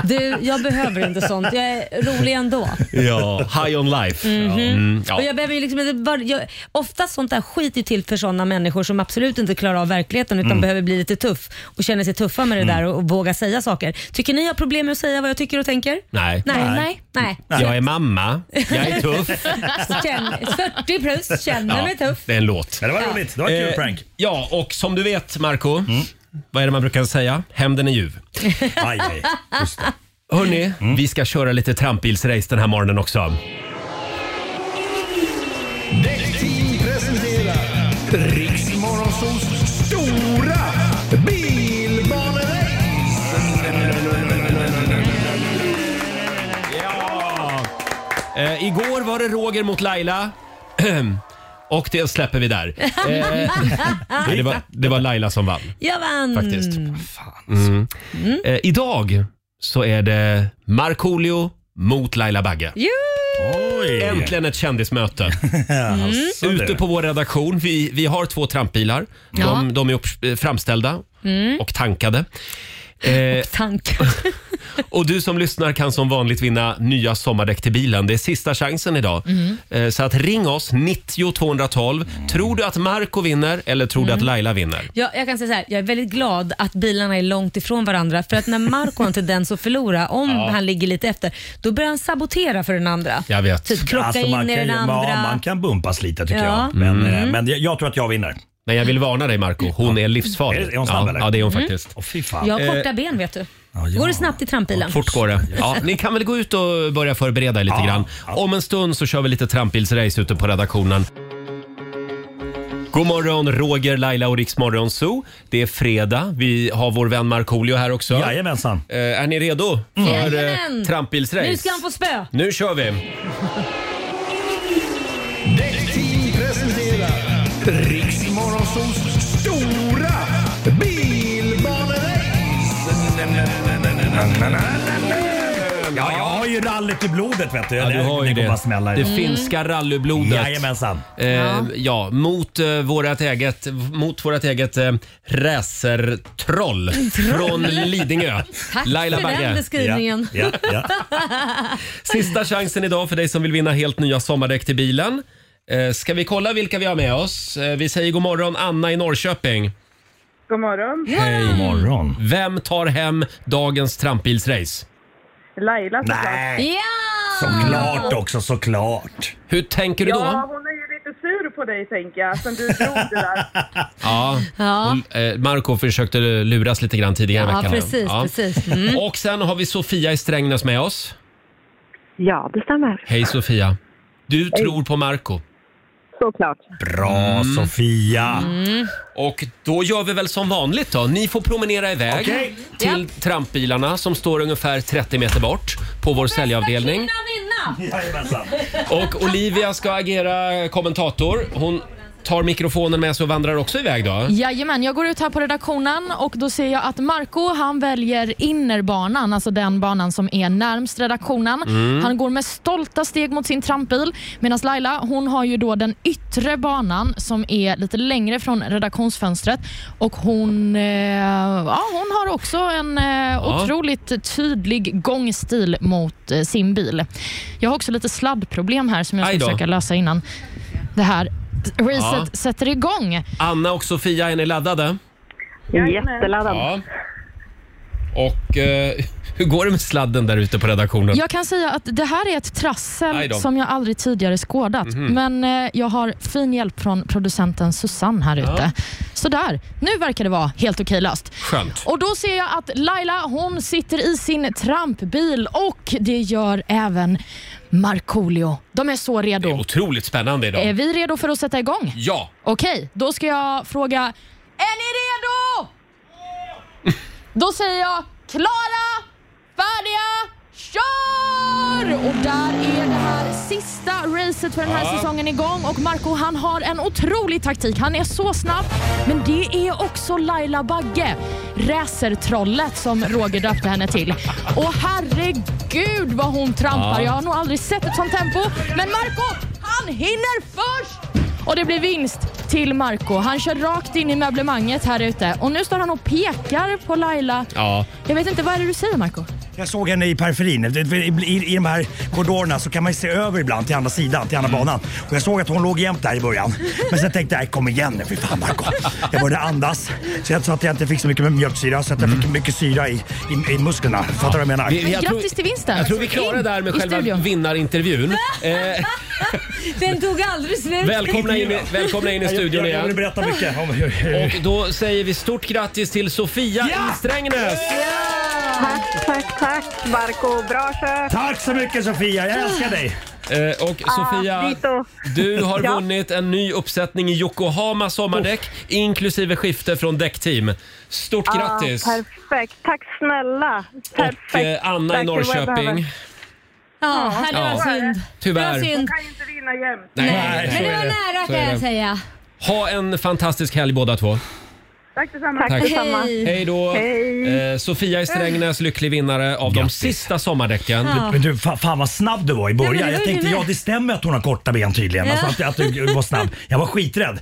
Du, jag behöver inte sånt. Jag är rolig ändå. Ja, high on life. Mm, ja. Och jag behöver ju liksom, inte bara- jag, oftast sånt där skiter ju till för sådana människor som absolut inte klarar av verkligheten Mm. utan behöver bli lite tuff och känner sig tuffa med det där och, och våga säga saker. Tycker ni jag har problem med att säga vad jag tycker och tänker? Nej. Nej. Nej. Nej. Jag är mamma, jag är tuff. Känn, 40 plus, känner mig tuff. det är en låt. Eh, Men det var roligt, det var en kul prank. Mm. ja, och som du vet Marco vad är det man brukar säga? Hämnden är ljuv. Aj, aj. Just det. Hörni, Mm. vi ska köra lite trampbilsrace den här morgonen också. Däckteam presenterar Riksmorgonsols stora bilbanerace. Eh, igår var det Roger mot Laila. Och det släpper vi där. Eh, nej, det, var, det var Laila som vann Jag vann. faktiskt. Mm. Eh, idag så är det Markoolio mot Laila Bagge. Oj. Äntligen ett kändismöte. Alltså, Ute du. på vår redaktion. Vi, vi har två trampbilar. De, de är upp, eh, framställda och tankade. Eh, Tankar. och du som lyssnar kan som vanligt vinna nya sommardäck till bilen. Det är sista chansen idag. Eh, så att ring oss, 90 212. Tror du att Marco vinner eller tror du att Laila vinner? Jag, jag kan säga så här, jag är väldigt glad att bilarna är långt ifrån varandra för att när Marco har en tendens att förlora, om han ligger lite efter, då börjar han sabotera för den andra. Jag vet. Typ krocka Alltså, in man, i kan, den ju- andra. ja, man kan bumpas lite tycker Ja. jag. Men, eh, men jag, jag tror att jag vinner. Men jag vill varna dig Marco. hon är livsfarlig. Är det- är hon snabb, ja, eller? ja, det är hon faktiskt. Åh fy fan. Jag har korta ben vet du. Ja, ja. Går det snabbt i trampbilen? Fort går det. Ja, ni kan väl gå ut och börja förbereda er lite Ja, grann. ja. Om en stund så kör vi lite trampbilsrace ute på redaktionen. God morgon, Roger, Laila och Riksmorgon Zoo. Det är fredag. Vi har vår vän Markoolio här också. Jajamensan. Eh, är ni redo för eh, Mm. Jajamän. trampbilsrace? Nu ska han få spö. Nu kör vi! Däckteam presenterar Riksmorgonsols stora bilbanerace. Ja, jag har ju rallet i blodet vet du. Ja, du har ju det. kommer bara det. smälla. Det finska rallyblodet. Jajamensan. Eh, ja. mot eh, vårat eget, mot vårat eget eh, racertroll från Lidingö. Tack Laila för den Bagge. beskrivningen. Ja, ja, ja. Sista chansen idag för dig som vill vinna helt nya sommardäck till bilen. Eh, ska vi kolla vilka vi har med oss? Eh, vi säger god morgon Anna i Norrköping. God morgon. God morgon. Vem tar hem dagens trampbilsrace? Laila såklart. Nej, Ja! såklart också, såklart. Hur tänker du Ja, då? hon är ju lite sur på dig tänker jag, sen du drog det där. Ja. Ja, Och, eh, Marco försökte luras lite grann tidigare i ja veckan. precis. Ja. precis. Mm. Och sen har vi Sofia i Strängnäs med oss. Ja, det stämmer. Hej Sofia. Du tror på Marco. Såklart. Bra Mm. Sofia. Och då gör vi väl som vanligt då. Ni får promenera iväg Okej. till trampbilarna som står ungefär 30 meter bort på vår säljavdelning. Jajamensan. Och Olivia ska agera kommentator. Hon tar mikrofonen med sig och vandrar också iväg då. Jajamän, jag går ut här på redaktionen och då ser jag att Marco han väljer innerbanan, alltså den banan som är närmst redaktionen. Mm. Han går med stolta steg mot sin trampbil medan Laila hon har ju då den yttre banan som är lite längre från redaktionsfönstret och hon, eh, ja, hon har också en eh, otroligt tydlig gångstil mot eh, sin bil. Jag har också lite sladdproblem här som jag Aj ska då. försöka lösa innan det här racet Ja. sätter igång. Anna och Sofia, är ni laddade? Jätteladdad. Ja. Och eh, hur går det med sladden där ute på redaktionen? Jag kan säga att det här är ett Aj trassel då. Mhm. som jag aldrig tidigare skådat. Men eh, jag har fin hjälp från producenten Susanne här ute. Så där, nu verkar det vara helt okej löst. Skönt. Och då ser jag att Laila hon sitter i sin trampbil och det gör även Markoolio. De är så Det är redo. otroligt spännande Är idag. vi redo för att sätta igång? Ja, Okej, då ska jag fråga. Är ni redo? Då säger jag klara, färdiga, kör! Och där är det här sista racet för den här Ja. säsongen igång och Marco han har en otrolig taktik. Han är så snabb, men det är också Laila Bagge, racertrollet som Roger döpte henne till. Och herregud vad hon trampar. Ja. Jag har nog aldrig sett ett sånt tempo. Men Marco, han hinner först! Och det blir vinst till Marco. Han kör rakt in i möblemanget här ute. Och nu står han och pekar på Laila. ja. Jag vet inte, vad är det du säger Marco? Jag såg henne i periferin. I, i, I de här korridorerna så kan man ju se över ibland till andra sidan, till andra Mm. banan. Och jag såg att hon låg jämt där i början. Men sen tänkte jag, "Nej, kom igen nu för fan Marco. Jag började andas. Så jag sa att jag inte fick så mycket med mjölksyra, så att jag fick mycket syra i, i, i musklerna. Fattar du vad jag menar? Mm. Vi- vi- Men jag tror- grattis till vinsten! Jag tror vi klarar Alltså, In det här med i själva studion. vinnarintervjun. Eh, Den tog aldrig slut. välkomna, in, i- välkomna in i studion jag, jag, jag vill igen. berätta mycket om hur... hur- Och då säger vi stort grattis till Sofia Ja! i Strängnäs! Tack, tack, tack Marco. Bra kört. Tack så mycket Sofia, jag älskar dig. Eh, Och Sofia, dito. du har Ja. vunnit en ny uppsättning i Yokohama sommardäck inklusive skifte från däckteam. Stort grattis! Ja, perfekt. Tack snälla. Perfekt. Och eh, Anna i Tack, det var vad jag behövde. Norrköping. Ja, här, det Ja. var synd. Det var Tyvärr. synd. Kan ju inte vinna jämt. Nej, så Men det är var det. nära Så kan är jag det. säga. Ha en fantastisk helg båda två. Tack detsamma. Tack. detsamma. Hej. Hej då! Hej. Eh, Sofia i Strängnäs, lycklig vinnare av de Grattis. sista sommardäcken. Men du, fa- fan vad snabb du var i början. Nej, men det jag var tänkte, ju ja med. det stämmer att hon har korta ben tydligen. Ja. Alltså att, att du var snabb. Jag var skiträdd.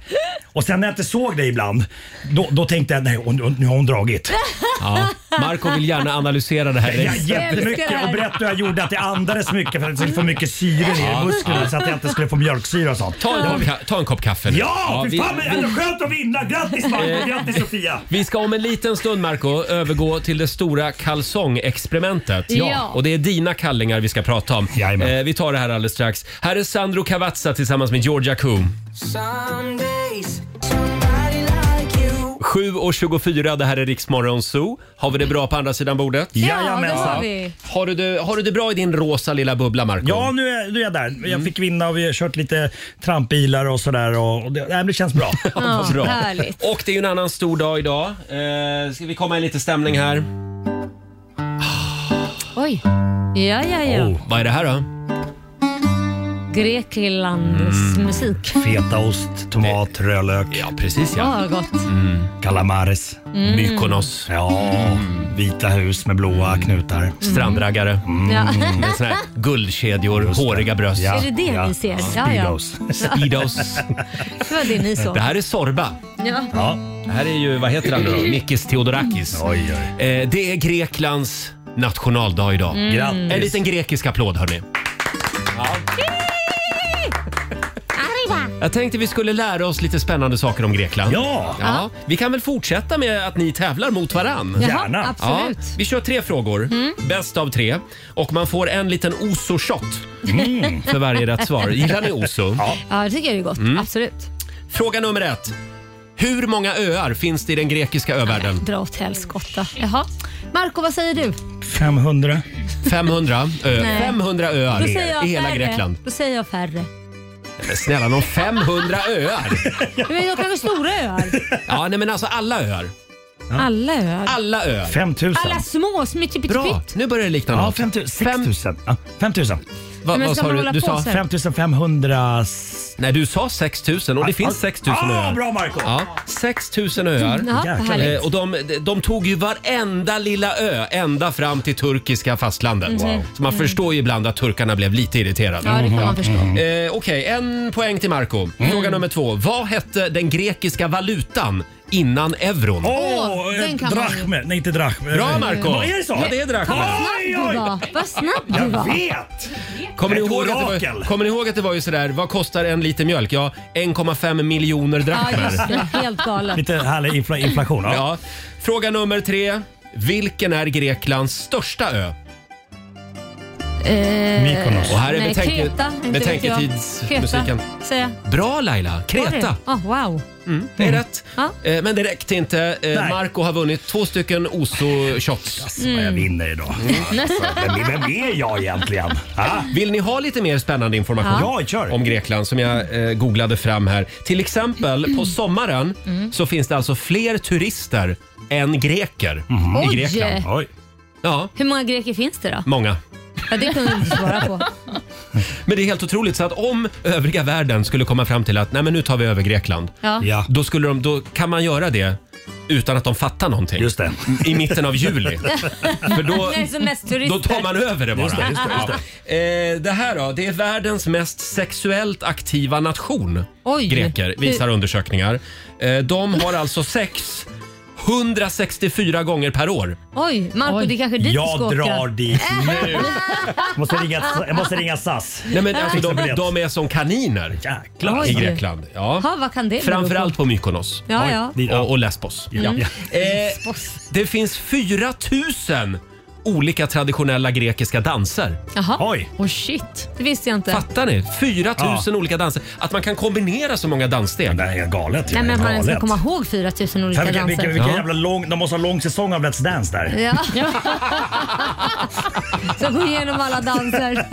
Och sen när jag inte såg dig ibland, då, då tänkte jag nej, hon, hon- nu har hon dragit. Ja. Marco vill gärna analysera det här. Jag älskar det jättemycket här. och berättade hur jag gjorde att jag andades mycket för att jag skulle få mycket syre ner i musklerna så att jag inte skulle få mjölksyra och sånt. Ta en, kopp, ka- ta en kopp kaffe nu. Ja, fy vi, Eh. fan men ändå skönt att vinna. Grattis Marco, grattis Sofia. vi ska om en liten stund Marco övergå till det stora kalsongexperimentet. Ja. Och det är dina kallingar vi ska prata om. Eh, Jajamän. vi tar det här alldeles strax. Här är Sandro Cavazza tillsammans med Georgia Coom. 7.24, det här är Riksmorgon Zoo. Har vi det bra på andra sidan bordet? Ja, det har Jajamensan. vi. Har du, det, har du det bra i din rosa lilla bubbla Marco? Ja, nu är, nu är jag där. Mm. Jag fick vinna och vi har kört lite trampbilar och sådär. Och, och det, nej, men det känns bra. Ja, Bra. härligt. Och det är ju en annan stor dag idag. Eh, ska vi komma i lite stämning här? Oj. Ja, ja, ja. Oh, Vad är det här då? Greklands musik. Fetaost, tomat, rödlök, Ja, precis ja. Ja, vad gott. calamares. Mm. Mykonos, Ja, Mm. vita hus med blåa knutar. strandraggare, Mm. Ja. med såna Mm. här guldkedjor, Just det. håriga bröst. Ja. Är det det Ja. vi ser? Ja, ja. Speedos. Speedos. Det var det ni såg. Det här är Sorba. Ja. Ja. Det här är ju, vad heter han nu då? Mikis Theodorakis. Oj, oj. Eh, det är Greklands nationaldag idag. En Grattis. liten grekisk applåd hörni. Jag tänkte vi skulle lära oss lite spännande saker om Grekland. Ja, Ja, vi kan väl fortsätta med att ni tävlar mot varann. gärna. Absolut. Mm. vi kör tre frågor. Bäst av tre. Och man får en liten oso-shot för varje rätt svar. Gillar ni oso? Mm. Ja, det tycker jag är gott. Absolut. Fråga nummer ett. Hur många öar finns det i den grekiska övärlden? Dra åt helskotta. Jaha. Marco, vad säger du? 500. 500, ö- Nej. 500 öar Då säger jag i hela färre. Grekland. Då säger jag färre. Men snälla någon 500 öar? Men jag kanske stora öar. Ja, nej men alltså alla öar. Alla öar. Alla öar. 5000. Alla små, som är typ Bra, pytt nu börjar det likna Ja, något. 5000. Fem- 6000. Ja, 5000. Va, Men vad ska sa man du? hålla Du på sa, sen? 5500. nej, du sa 6 000 och det finns 6 000 ah, öar. Bra Marco Ja, 6 000 öar. Mm, Ja, Jäklar. vad härligt. Eh, Och de, de tog ju varenda lilla ö ända fram till turkiska fastlandet. Så man förstår ju ibland att turkarna blev lite irriterade. Mhm. Mm. Ja, det kan man förstå. Mm. Eh, Okej, en poäng till Marco. Fråga nummer två. Vad hette den grekiska valutan innan euron? Åh, Åh, eh, den kan man ju. drachmer. Nej, inte drachmer. Bra Marco! Vad är det så? Ja, det är drachmer. Oj, Du oj. var. Vad snabb du Jag var. vet! Kommer ni, Ett ihåg att det var, orakel. kommer ni ihåg att det var ju sådär, vad kostar en liter mjölk? Ja, 1,5 miljoner Ja, drachmer. just det. Helt galet. Lite härlig infla- inflation. Ja. Ja. Fråga nummer tre. Vilken är Greklands största ö? Mykonos. Och här är Eh, Nej, betänke, Kreta, inte vet jag. betänketidsmusiken. Kreta, säger jag. Bra Laila! Kreta! Ah, wow. Det är rätt. Mm. Ja. Eh, Men det räckte inte. Eh, Nej. Marco har vunnit två stycken Oso-shots. Alltså, Mm. vad jag vinner idag. Alltså, Vem, vem är jag egentligen? Ah, Vill ni ha lite mer spännande information Ja. Ja, kör. om Grekland som jag eh, googlade fram här? Till exempel på sommaren så finns det alltså fler turister än greker i Grekland. Oj. oj. Ja, Hur många greker finns det då? många. Ja, det kunde du inte svara på. Men det är helt otroligt så att om övriga världen skulle komma fram till att nej men nu tar vi över Grekland. Ja. Ja, Då, skulle de, då kan man göra det utan att de fattar någonting. just det. I mitten av juli. För då, Det är som mest då turister. tar man över det bara. Just det, just det, just det. Ja. Eh, det här då, det är världens mest sexuellt aktiva nation. Oj. Greker, visar undersökningar. Eh, de har alltså sex 164 gånger per år. Oj, Marco det är kanske är dit du Jag ska åka. drar dit nu. måste ringa, jag måste ringa SAS. Nej, men alltså, Fixa de, biljett. de är som kaniner Jäklar. i Oj. Grekland. Ja, Ja. vad kan det bero Framförallt på? på Mykonos Ja, ja. Dit- och, och Lesbos. Ja. Mm. Ja. Eh, det finns 4 000 olika traditionella grekiska danser. Jaha, Oj, Oh shit. det visste jag inte. Fattar ni? 4 000 Ja. olika danser. Att man kan kombinera så många danssteg. det här är galet. Nej, men att man ens ska galet. komma ihåg 4000 olika Vilken, vilken, danser. vilken, Ja. jävla lång, de måste ha lång säsong av Let's Dance där. Ja. så gå igenom alla danser.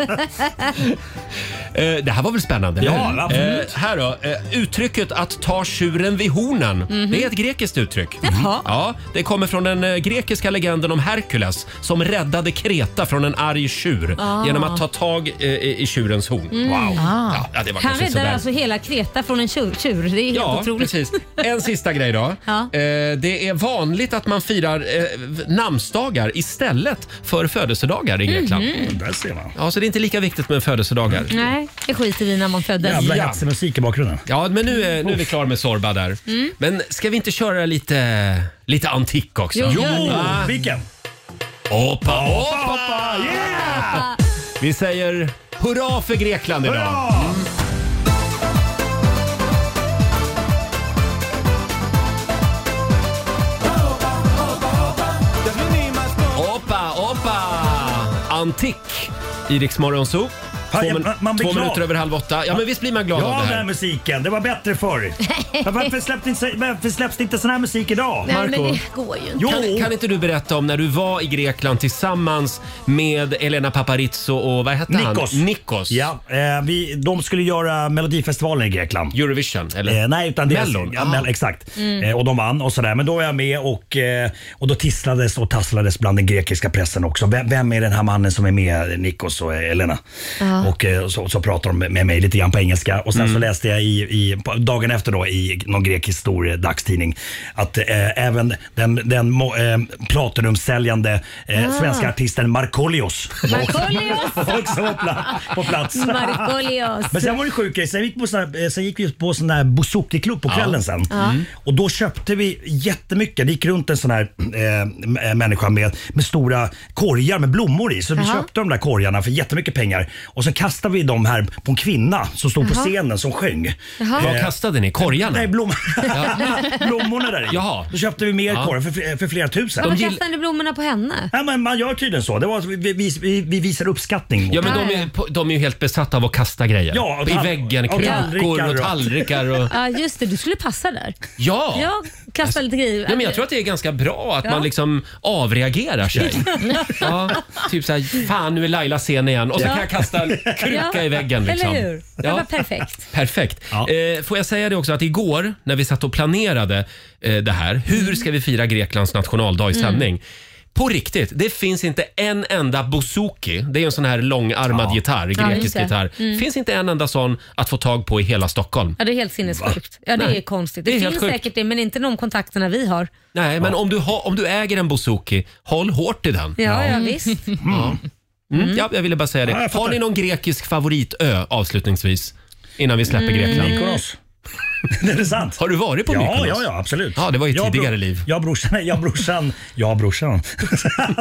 Eh, det här var väl spännande? Ja, eller? absolut. Eh, här då. Eh, uttrycket att ta tjuren vid hornen. Det är ett grekiskt uttryck. Mhm. Mm. Jaha. Ja, det kommer från den eh, grekiska legenden om Herkules som räddade Kreta från en arg tjur Ah. genom att ta tag eh, i i tjurens horn. Mm. Wow. Ja, ja, det var Han kanske räddar sådär. alltså hela Kreta från en tjur. tjur. Det är helt Ja, otroligt. precis. En sista grej då. Ja. Eh, det är vanligt att man firar eh, namnsdagar istället för födelsedagar i Grekland. Där ser man. Ja, så det är inte lika viktigt med födelsedagar. Mhm. Nej, det skiter vi i när man föddes. Jävla Ja. hetsig musik i bakgrunden. Ja, men nu är, nu är vi klara med Sorba där. Mm. Men ska vi inte köra lite, lite antik också? Jo, Jo! Oh, Va? vilken? Hoppa, hoppa. Hoppa! Yeah! Vi säger hurra för Grekland idag! Bra! Hoppa, hoppa! Antik i Rix Morgon Zoo. Två, Ja, min- man- man blir två glad. minuter över halv åtta. Ja, men visst blir man glad av Ja, det den här här? musiken. Det var bättre förr. Men Varför släpps inte, varför släpps det inte sån här musik idag? Nej, men Marco? det går ju inte. Jo, Kan, kan inte du berätta om när du var i Grekland tillsammans med Elena Paparizou och vad hette Nikos. han? Nikos. Ja, eh, vi, de skulle göra Melodifestivalen i Grekland. Eurovision, eller? Eh, nej, utan det Mellon. Ah. Ja, Mel, exakt. Eh, och de vann och sådär. Men då var jag med och, eh, och då tisslades och tasslades bland den grekiska pressen också. Vem, vem är den här mannen som är med, Nikos och eh, Elena? Och eh, så, så pratade de med mig lite grann på engelska. Och sen så läste jag i, i, på- dagen efter då i någon grek historiedagstidning att eh, även den, den mo- eh, platinumsäljande eh, svenska artisten Markoolios var också- Markoolios! var också på pla- på plats. Markoolios. Men sen var det sjukt sen gick vi på sån här, eh, sen gick vi på sån där bouzouki-klubb på kvällen sen. Mm. Och då köpte vi jättemycket. Det gick runt en sån här eh, m- eh, människa med, med stora korgar med blommor i. Så vi köpte de där korgarna för jättemycket pengar. Och sen kastade vi dem här på en kvinna som stod på scenen som sjöng. Vad kastade ni? Korgarna? Nej, blommor. blommorna där i. Jaha. Då köpte vi mer Ja. korgar för, för flera tusen. Varför gill- kastar ni blommorna på henne? Ja, men man gör tydligen så. Det var, vi, vi, vi, vi visar uppskattning. mot Ja, men de är, på- de är ju helt besatta av att kasta grejer. Ja, och I tall- väggen, och krukor tallrikar och och- tallrikar. Och... Ja, just det. Du skulle passa där. Ja! Ja, kasta lite grejer. Ja, men jag tror att det är ganska bra att man liksom avreagerar sig. Ja, typ såhär, fan nu är Laila sen igen och så kan jag kasta en kruka i väggen. Liksom. Eller hur? Det var Ja. perfekt. Perfekt. Ja. Eh, får jag säga det också att igår när vi satt och planerade eh, det här, hur ska vi fira Greklands nationaldag Mm. i sändning? På riktigt, det finns inte en enda bouzouki, det är en sån här långarmad gitarr, grekisk just det. Mm. gitarr. finns inte en enda sån att få tag på i hela Stockholm. Ja, det är helt sinnessjukt. Ja, det Nej. är konstigt. Det Det, är helt finns sjukt. säkert det, men inte de kontakterna vi har. Nej, men om du, ha, om du äger en bouzouki, håll hårt i den. Ja, ja, visst. Mm. Ja, jag ville bara säga det. Ja, jag fattar. Har ni någon grekisk favoritö avslutningsvis? Innan vi Mm. släpper Grekland. Mykonos. det är sant. Har du varit på Ja, Mykonos? ja, ja, absolut. Ja, det var ju Jag och tidigare bro- liv. Jag och brorsan, jag och brorsan, jag och brorsan. Du brorsan.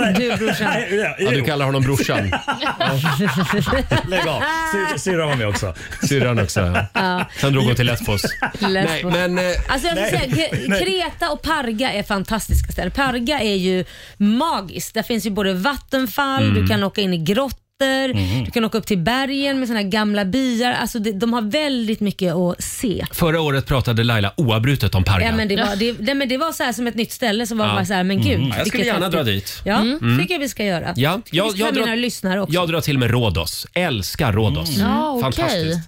Nej, ja, Ja, du jo, kallar honom brorsan. Lägg av. Sy- Syrran var med också. Syrran också. Ja. Sen drog hon till Lesbos. Nej, Lesbos. men eh, Alltså jag vill Nej. säga, K- Nej. Kreta och Parga är fantastiska ställen. Parga är ju magiskt. Där finns ju både vattenfall, Mm. du kan åka in i grottor, du kan åka upp till bergen med såna här gamla byar. Alltså det, de har väldigt mycket att se. förra året pratade Laila oavbrutet om Parga. Ja, men det, var, det, nej, men det var så här som ett nytt ställe som var Ja. bara så här, men gud. Jag skulle vilket gärna häftigt. dra dit. Mm. Ja, tycker jag vi ska göra. Ja, jag- jag, jag jag, drar- mina lyssnare också. Mm. Jag drar till med Rhodos. Älskar Rhodos. Ja, okej. Fantastiskt.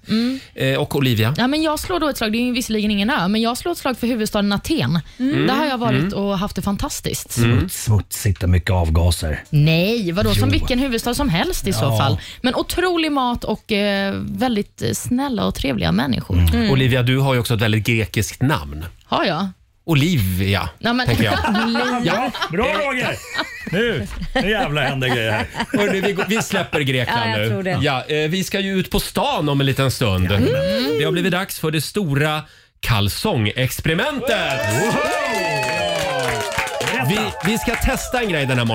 Eh, och Olivia? Ja, men jag slår då ett slag, det är ju visserligen ingen ö, men jag slår ett slag för huvudstaden Aten. Mm. Där har jag varit och haft det fantastiskt. Smutsigt och mycket avgaser. Nej, vadå som vilken huvudstad som helst i så fall. Men otrolig mat och eh, väldigt eh, snälla och trevliga människor. Mm. Olivia, du har ju också ett väldigt grekiskt namn. Har jag? Olivia, Ja, men- tänker jag. Ja. Bra Roger! Nu, nu jävlar händer grejer här. Hörrni, vi, går- vi släpper Grekland Ja, jag nu. tror det. Ja, eh, vi ska ju ut på stan om en liten stund. Mm. Det har blivit dags för det stora kalsongexperimentet. Berätta. Vi, vi ska testa en grej den här Mm.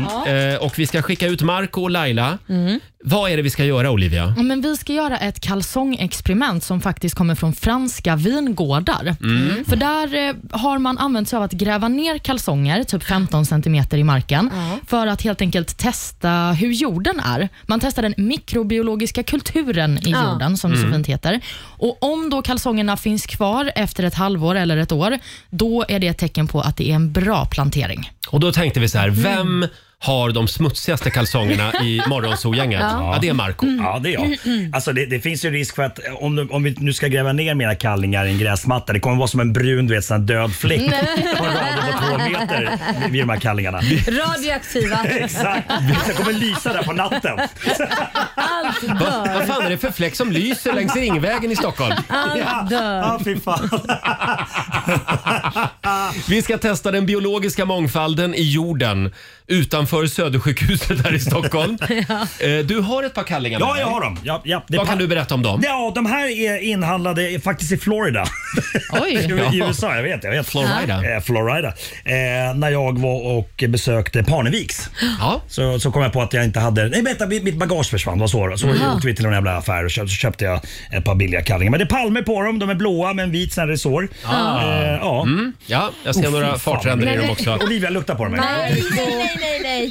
morgonen eh, och vi ska skicka ut Marco och Laila. Vad är det vi ska göra Olivia? Mm. Ja, men vi ska göra ett kalsongexperiment som faktiskt kommer från franska vingårdar. Mm. För där eh, har man använt sig av att gräva ner kalsonger, typ 15 centimeter i marken, för att helt enkelt testa hur jorden är. Man testar den mikrobiologiska kulturen i jorden, som det Mm. så fint heter. Och om då kalsongerna finns kvar efter ett halvår eller ett år, då är det ett tecken på att det är en bra plantering. Och då tänkte vi så Mm. här, vem har de smutsigaste kalsongerna i morgonsolgänget? Ja. det är Marco. Mm. Ja, det är jag. Alltså, det, det finns ju risk för att eh, om, du- om vi nu ska gräva ner mina kallingar i en gräsmatta, det kommer vara som en brun, du vet, sån här död fläck på en radie på två meter vid- vid de här kallingarna. Radioaktiva. Exakt! Jag kommer lysa där på natten. Allt Vad, dör. vad fan är det för fläck som lyser längs Ringvägen i Stockholm? Allt dör. Ja, fy fan. Vi ska testa den biologiska mångfalden i jorden utanför Södersjukhuset här i Stockholm. Eh, Du har ett par kallingar med Ja, jag dig. har dem. Ja, ja, det Vad pa- kan du berätta om dem? Ja, de här är inhandlade faktiskt i Florida. Oj. I USA, jag vet. Jag vet. Florida. Eh, Florida. Eh, när jag var och besökte Parneviks Ja. så, så kom jag på att jag inte hade... Nej vänta, mitt mitt bagage försvann. Vad så då? Så åkte vi till en jävla affär och köpte, så köpte jag ett par billiga kallingar. Men det är palmer på dem. De är blåa med en vit sån här resår. Ah. Eh, ja. ja, jag ser Oh, fy några fan. fartränder i dem också. Olivia, lukta på dem. här. Nej, nej, nej, nej.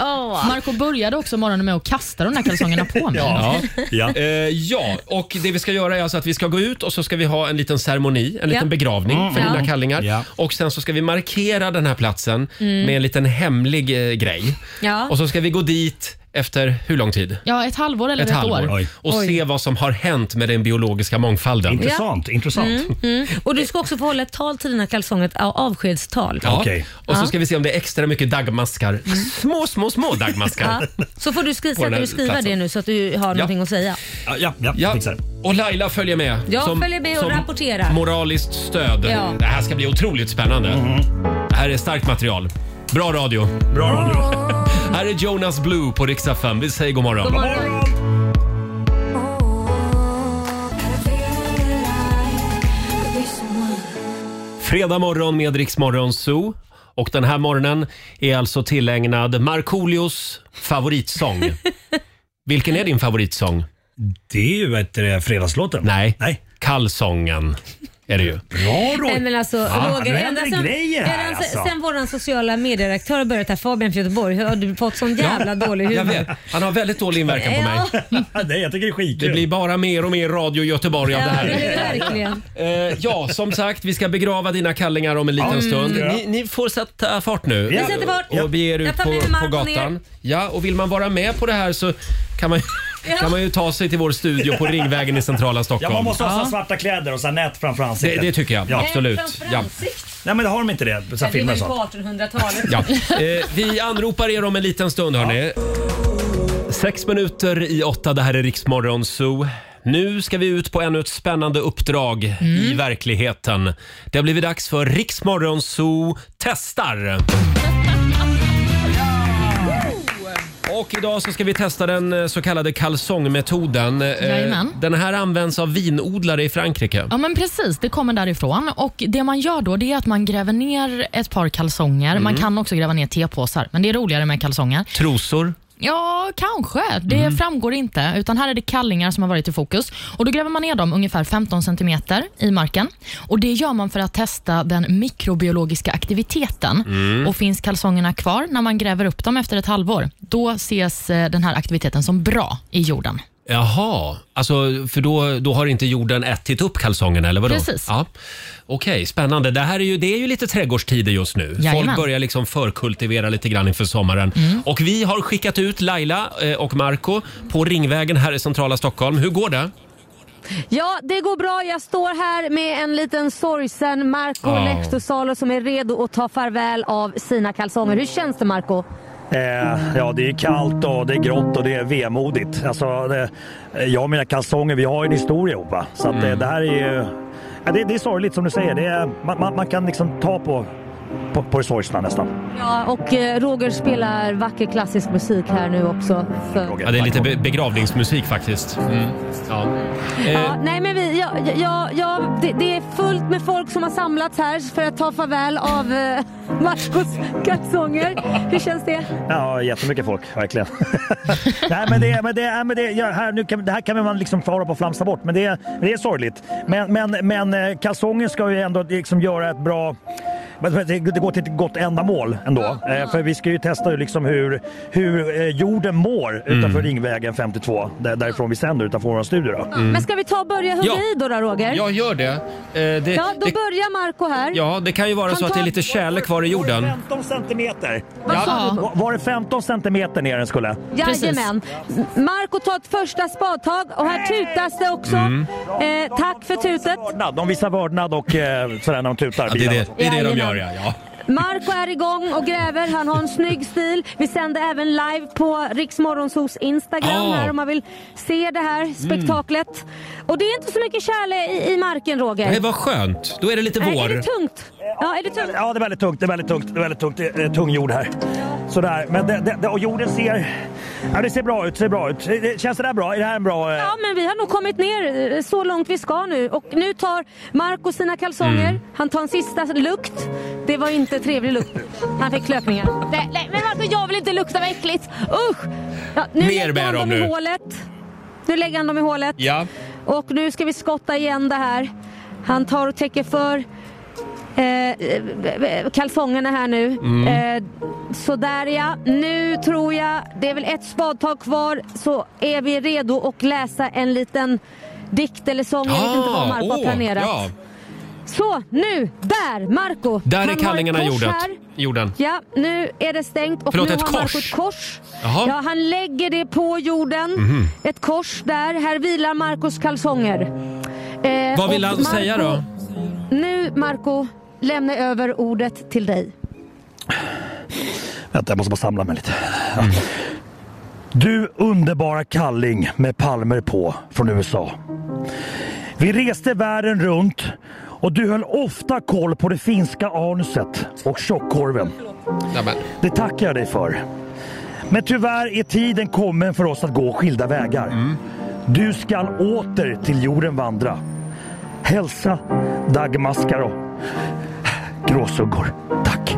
Åh. Marco började också morgonen med att kasta de där kalsongerna på mig. Ja. Ja. Eh, ja, och det vi ska göra är alltså att vi ska gå ut och så ska vi ha en liten ceremoni, en liten Ja. begravning för Ja. dina kallingar. Ja. Och sen så ska vi markera den här platsen med en liten hemlig eh, grej. Mm. Ja. Och så ska vi gå dit efter hur lång tid? Ja, ett halvår eller ett, Ett halvår. år. Oj. Och se vad som har hänt med den biologiska mångfalden. Intressant, intressant. Mm. Och du ska också få hålla ett tal till dina kalsonger, ett av- avskedstal. Ja. Mm. Okej. Och så ska vi se om det är extra mycket dagmaskar. Små, små, små dagmaskar. Ja. Så får du skriva, På den här du skriva platsen. det nu så att du har någonting att säga. Ja, ja, ja, Ja. fixar det. Och Laila följer med. Jag följer med och som rapporterar. Moraliskt stöd. Ja. Det här ska bli otroligt spännande. Det här är starkt material. Bra radio. Mm. Bra radio. Här är Jonas Blue på riksdag 5. Vi säger god morgon. Fredag morgon med Rix Morgon Zoo. Och den här morgonen är alltså tillägnad Markoolios favoritsång. Vilken är din favoritsång? Det är ju vet du, fredagslåten. Nej. Nej. Kallsången är det ju. Bra Roger. Nej, men alltså, Roger, nu ända händer det sen, grejer här, ända sen, alltså. sen vår sociala medieredaktör har börjat här, Fabian från Göteborg, har du fått sån jävla dålig Jag humor. vet, han har väldigt dålig inverkan på mig. Ja, Nej, jag tycker det är skitkul. alltså- Det blir bara mer och mer Radio Göteborg av det ja, det här. är verkligen. Eh, ja, som sagt, vi ska begrava dina kallingar om en liten stund. Ni, ni får sätta fart nu. Vi Mm. sätter fart. Ja. Och beger ut Jag tar på, med mig på Marco gatan. ner. Ja, och vill man vara med på det här så kan man, kan man ju ta sig till vår studio på Ringvägen i centrala Ja, Stockholm. man måste ha så här svarta kläder och så här nät framför det, ansiktet. det tycker jag, Ja. absolut. Eh, Framför Ja. ansiktet. Nej men det har de inte det, så här Vi var filmer och ju sånt. på 1800-talet. Ja. Eh, vi anropar er om en liten stund hörni. Sex minuter i åtta, det här är Riksmorgon Zoo. Nu ska vi ut på ännu ett spännande uppdrag i verkligheten. Det har blivit dags för Riksmorgon Zoo testar. Och idag så ska vi testa den eh, så kallade kalsongmetoden. Eh, Jajamän. Den här används av vinodlare i Frankrike. Ja men precis, det kommer därifrån. Och Det man gör då det är att man gräver ner ett par kalsonger. Man Mm. kan också gräva ner tepåsar, men det är roligare med kalsonger. Trosor. Ja, kanske. Det Mm. framgår inte. Utan Här är det kallingar som har varit i fokus. Och Då gräver man ner dem ungefär 15 centimeter i marken. Och Det gör man för att testa den mikrobiologiska aktiviteten. Mm. Och Finns kalsongerna kvar när man gräver upp dem efter ett halvår, då ses eh, den här aktiviteten som bra i jorden. Jaha, alltså, för då, då har inte jorden ätit upp kalsongerna eller vadå? Precis. Ja. Okej, spännande. Det här är ju, det är ju lite trädgårdstider just nu. Folk Jajamän. börjar liksom förkultivera lite grann inför sommaren. Mm. Och vi har skickat ut Laila eh, och Marco på Ringvägen här i centrala Stockholm. Hur går det? Ja, det går bra. Jag står här med en liten sorgsen Marco Ja. Lehtosalo som är redo att ta farväl av sina kalsonger. Hur känns det Marco? Eh, ja, det är kallt och det är grått och det är vemodigt. Alltså, det, jag och mina kalsonger, vi har ju en historia ihop. va? Så att, Mm. eh, det här är ju... Ja, det, det är sorgligt som du säger. Det är, man, man, man kan liksom ta på, på, på det sorgsna nästan. Ja, och eh, Roger spelar vacker klassisk musik här nu också. Så. Roger. Ja, det är lite be- begravningsmusik faktiskt. Mm. Ja. Ja, nej men vi, ja, ja, ja, ja, det, det är fullt med folk som har samlats här för att ta farväl av eh, Marcos kalsonger. Hur känns det? Ja, jättemycket folk, verkligen. Nej, men det, men det, nej, men det, ja, här, nu kan, det här kan man liksom fara på och flamsa bort, men det, men det är sorgligt. Men, men, men eh, kalsonger ska ju ändå liksom göra ett bra... men Det det går till ett gott ändamål ändå. Eh, För vi ska ju testa ju liksom hur, hur eh, jorden mår Mm. utanför Ringvägen 52, där, därifrån vi sänder, utanför vår studio. Mm. Då. Men ska vi ta och börja hugga Ja. i då, då Roger? Jag gör det. Eh, det, Ja, då det börjar Marco här. ja, det kan ju vara så att det är lite tjäle kvar i Var jorden. det 15 centimeter? Vad sa du? Var- Var det 15 centimeter ner den skulle? Jajamän. Marco tar ett första spadtag och här tutas det också. Mm. Eh, tack för tutet. Vördnad, De visar vördnad och eh, sådär när de tutar. Ja, det är bilarna. det, det, är det de gör Jajamän. ja. ja. Marco är igång och gräver. Han har en snygg stil. Vi sänder även live på Riksmorgonsos Instagram Ja. Mm. här om man vill se det här spektaklet. Och det är inte så mycket kärle i, i marken Roger. Nej, vad skönt. Då är det lite Nej, är det vår. tungt? Ja, är det tungt? Ja, det är väldigt tungt. Det är väldigt tungt. Det är väldigt tungt. Det är tung jord här. Sådär. Men det, det, det, och jorden ser... Ja, det ser bra ut. Ser bra ut. Eh, Känns det där bra? Är det här en bra... eh, Ja, men vi har nog kommit ner eh, så långt vi ska nu. Och nu tar Marco sina kalsonger. Mm. Han tar en sista lukt. Det var inte trevlig lukt. Han fick klöpningar. Nej, nej, men Marco, jag vill inte lukta vad äckligt. Usch! Ja, nu Ner lägger med han dem dem nu. i hålet. Nu lägger han dem i hålet. Ja. Och nu ska vi skotta igen det här. Han tar och täcker för eh, eh, kalsongerna här nu. Mm. Eh, sådär ja. Nu tror jag, det är väl ett spadtag kvar så är vi redo att läsa en liten dikt eller sång. Jag vet inte vad Marco har Ah, åh, planerat. ja. Så, nu, där, Marco Där är Han har kallingarna ett i kors jorden. här. jorden. Ja, nu är det stängt och Förlåt, nu ett har kors? Marco ett kors. Jaha. Mhm. Ja, han lägger det på jorden. Ett kors där. Här vilar Marcos kalsonger. Eh, Vad vill och han Marco- säga då? Nu, Marco, lämnar jag över ordet till dig. Vänta, jag måste bara samla mig lite. Ja. Du underbara kalling med palmer på från USA. Vi reste världen runt och du höll ofta koll på det finska anuset och tjockkorven. Nämen. Det tackar jag dig för. Men tyvärr är tiden kommen för oss att gå skilda vägar. Du skall åter till jorden vandra. Hälsa Dagmaskaro. Gråsuggor. Tack.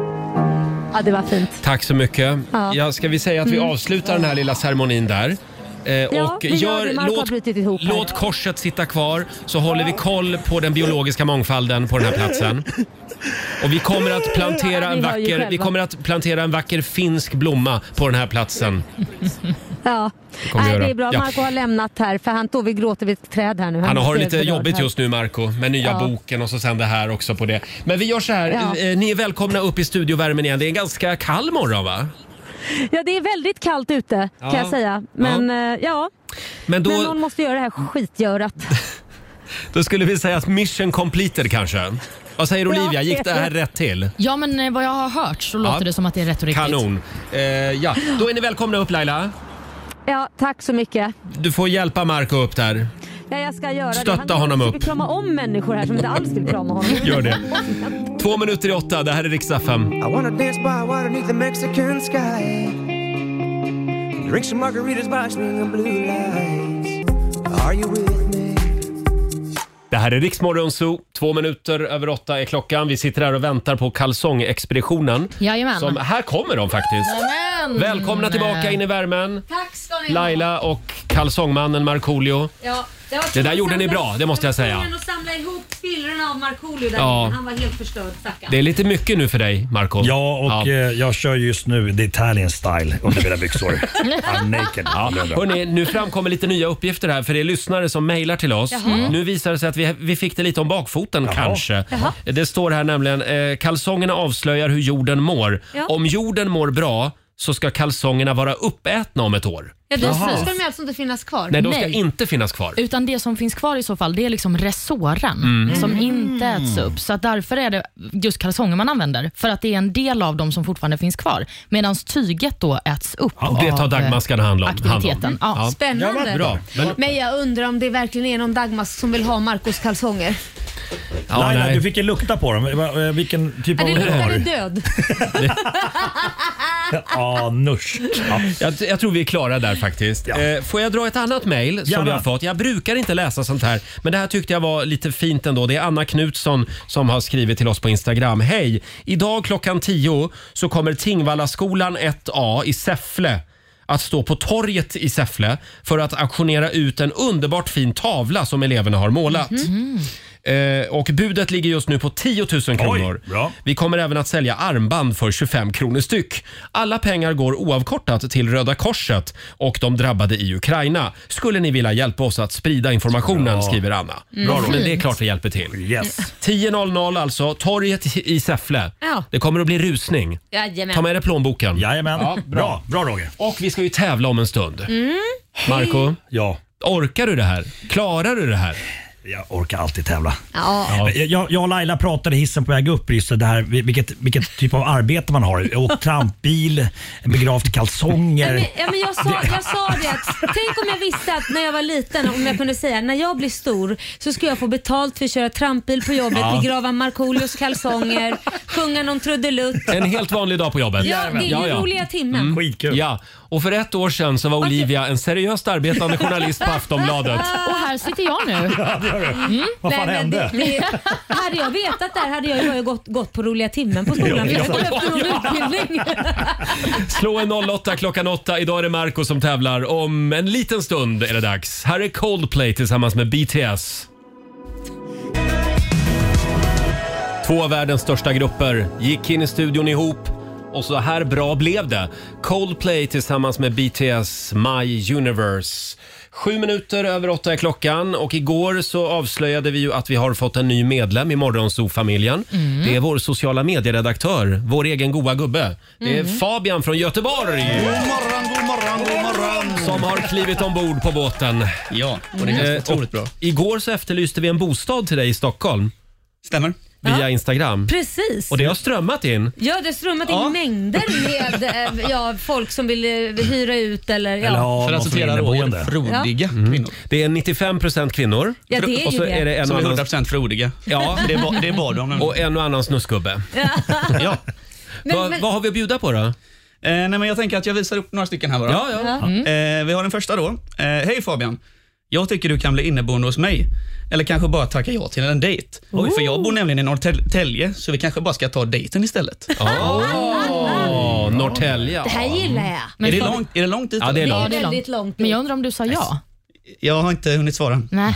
Ja, det var fint. Tack så mycket. Ja. Mm. Ja, ska vi säga att vi avslutar den här lilla ceremonin där? Eh, Ja, vi gör det. Marco har låt, brutit ihop här. låt korset sitta kvar så håller vi koll på den biologiska mångfalden på den här platsen. Och vi kommer att plantera Ja, en ni hör ju vacker, själva. vi kommer att plantera en vacker finsk blomma på den här platsen. Ja. kommer vi Nej, göra. det är bra. Ja. Marco har lämnat här för han står vid gråter vid ett träd här nu. Han har är det lite berörd jobbigt här. just nu Marco med nya Ja. boken och så sen det här också på det. Men vi gör så här, Ja. eh, ni är välkomna upp i studiovärmen igen. Det är en ganska kall morgon va? Ja, det är väldigt kallt ute kan Ja. jag säga. Men ja, ja. Men Men någon då, måste göra det här skitgörat. då skulle vi säga att mission completed kanske. Vad säger Olivia, gick det här rätt till? Ja, men eh, vad jag har hört så Ja. låter det som att det är rätt och riktigt. Kanon. Eh, ja. Då är ni välkomna upp Laila. Ja, tack så mycket. Du får hjälpa Marco upp där. Ja, jag ska göra Stötta det. Han honom upp. försöker krama om människor här som inte alls vill krama honom. Gör det. Två minuter i åtta, det här är riksdag 5. I wanna dance by water beneath the Mexican sky. Drink some margaritas by a string of blue lights. Are you with me? Det här är Riksmorgon Zoo. Två minuter över åtta är klockan. Vi sitter här och väntar på kalsongexpeditionen. Jajamän. Som, här kommer de faktiskt. Jajamän. Välkomna tillbaka in i värmen. Tack ska ni Laila och kalsongmannen Markoolio. Ja, det, var Det där gjorde ni bra, det måste jag säga. Jag samla ihop bilderna av Markoolio där Ja. inne. Han var helt förstörd stackarn. Det är lite mycket nu för dig, Marco. Ja, och Ja. eh, jag kör just nu the Italian style under mina byxor. I'm naked. Ja. Hörrni, nu framkommer lite nya uppgifter här för det är lyssnare som mejlar till oss. Mm. Nu visar det sig att vi, vi fick det lite om bakfoten kanske. Det står här nämligen, eh, kalsongerna avslöjar hur jorden mår. Ja. Om jorden mår bra så ska kalsongerna vara uppätna om ett år. Ja, då ska de ju alltså inte finnas kvar. Nej, de ska Nej. inte finnas kvar. Utan det som finns kvar i så fall, det är liksom resåren Mm. som inte äts upp. Så att därför är det just kalsonger man använder, för att det är en del av dem som fortfarande finns kvar. Medan tyget då äts upp Ja, det tar av, eh, dagmaskarna hand om. aktiviteten. Hand om. Ja. Spännande. Bra. Men, Men jag undrar om det verkligen är någon Dagmas som vill ha Marcos kalsonger. ja, Laila, nej. du fick ju lukta på dem. Va- eh, Vilken typ av Ja, det lukt har luktade du? död. Ja, nusch. Ja. Jag, jag tror vi är klara där faktiskt. Ja. Eh, får jag dra ett annat mejl som Gärna. vi har fått? Jag brukar inte läsa sånt här, men det här tyckte jag var lite fint ändå. Det är Anna Knutsson som har skrivit till oss på Instagram. Hej! Idag klockan 10 så kommer Tingvallaskolan 1A i Säffle att stå på torget i Säffle för att auktionera ut en underbart fin tavla som eleverna har målat. Mhm. Eh, och budet ligger just nu på 10 000 kronor. bra. Vi kommer även att sälja armband för 25 kronor styck. Alla pengar går oavkortat till Röda Korset och de drabbade i Ukraina. Skulle ni vilja hjälpa oss att sprida informationen, skriver Anna. Bra Men det är klart vi hjälper till. Yes. 10.00 alltså, torget i Säffle. Ja. Det kommer att bli rusning. Ta Jajamän. med dig plånboken. Jajamän. Ja, bra. bra Roger. Och vi ska ju tävla om en stund. Mm. Marco, Ja, orkar du det här? Klarar du det här? jag orkar alltid tävla. Ja. Ja. Eh, Jag, jag och Laila pratade i hissen på väg upp just det här vilket, vilket typ av arbete man har. Och trampbil, begravt i kalsonger. Men, ja, men jag, sa, jag sa det att tänk om jag visste att när jag var liten, om jag kunde säga när jag blir stor så ska jag få betalt för att köra trampbil på jobbet, begrava Markoolios kalsonger, sjunga någon trudelutt. En helt vanlig dag på jobbet. Ja, det är ju roliga timmen. Skitkul. Ja, och för ett år sedan så var Olivia en seriöst arbetande journalist på Aftonbladet. Och här sitter jag nu. Vad fan men hände? Det, det, hade jag vetat det här hade jag ju bara gått, gått på roliga timmen på skolan. Jag hade behövt någon utbildning. Slå en 08 klockan 8. Idag är det Marco som tävlar. Om en liten stund är det dags. Här är Coldplay tillsammans med BTS. Två av världens största grupper gick in i studion ihop och så här bra blev det. Coldplay tillsammans med BTS My Universe. Sju minuter över åtta är klockan och igår så avslöjade vi ju att vi har fått en ny medlem i Morgonzoo-familjen. Det är vår sociala medieredaktör, vår egen goa gubbe. Det är Fabian från Göteborg morgon, god morgon, god morgon. som har klivit ombord på båten. Ja, och det känns Eh, otroligt och bra. Igår så efterlyste vi en bostad till dig i Stockholm Stämmer. via Instagram. Precis. Och det har strömmat in. Ja, det har strömmat in mängder med eh, ja, folk som vill eh, hyra ut eller ja. Eller ha För någon att som citera inneboende. råd, frodiga kvinnor. Det är 95 kvinnor. Ja, det är ju och så det. är det en Som och är annan, 100% frodiga. ja, Det var, det var de nämligen. och en och annan snusgubbe. Ja. Men- Va, men- vad har vi att bjuda på då? Eh, nej, men jag tänker att jag visar upp några stycken här bara. Ja, ja. Eh, vi har den första då. Eh, Hej Fabian. Jag tycker du kan bli inneboende hos mig. Eller kanske bara tacka ja till en dejt. För jag bor nämligen i Norrtälje, så vi kanske bara ska ta dejten istället. Åh, Norrtälje. Det här gillar jag. Men är, det Fabian- långt, är det långt dit? Ja, det är Ja, långt. det är Väldigt långt. långt. Men jag undrar om du sa ja? Jag har inte hunnit svara. Nej.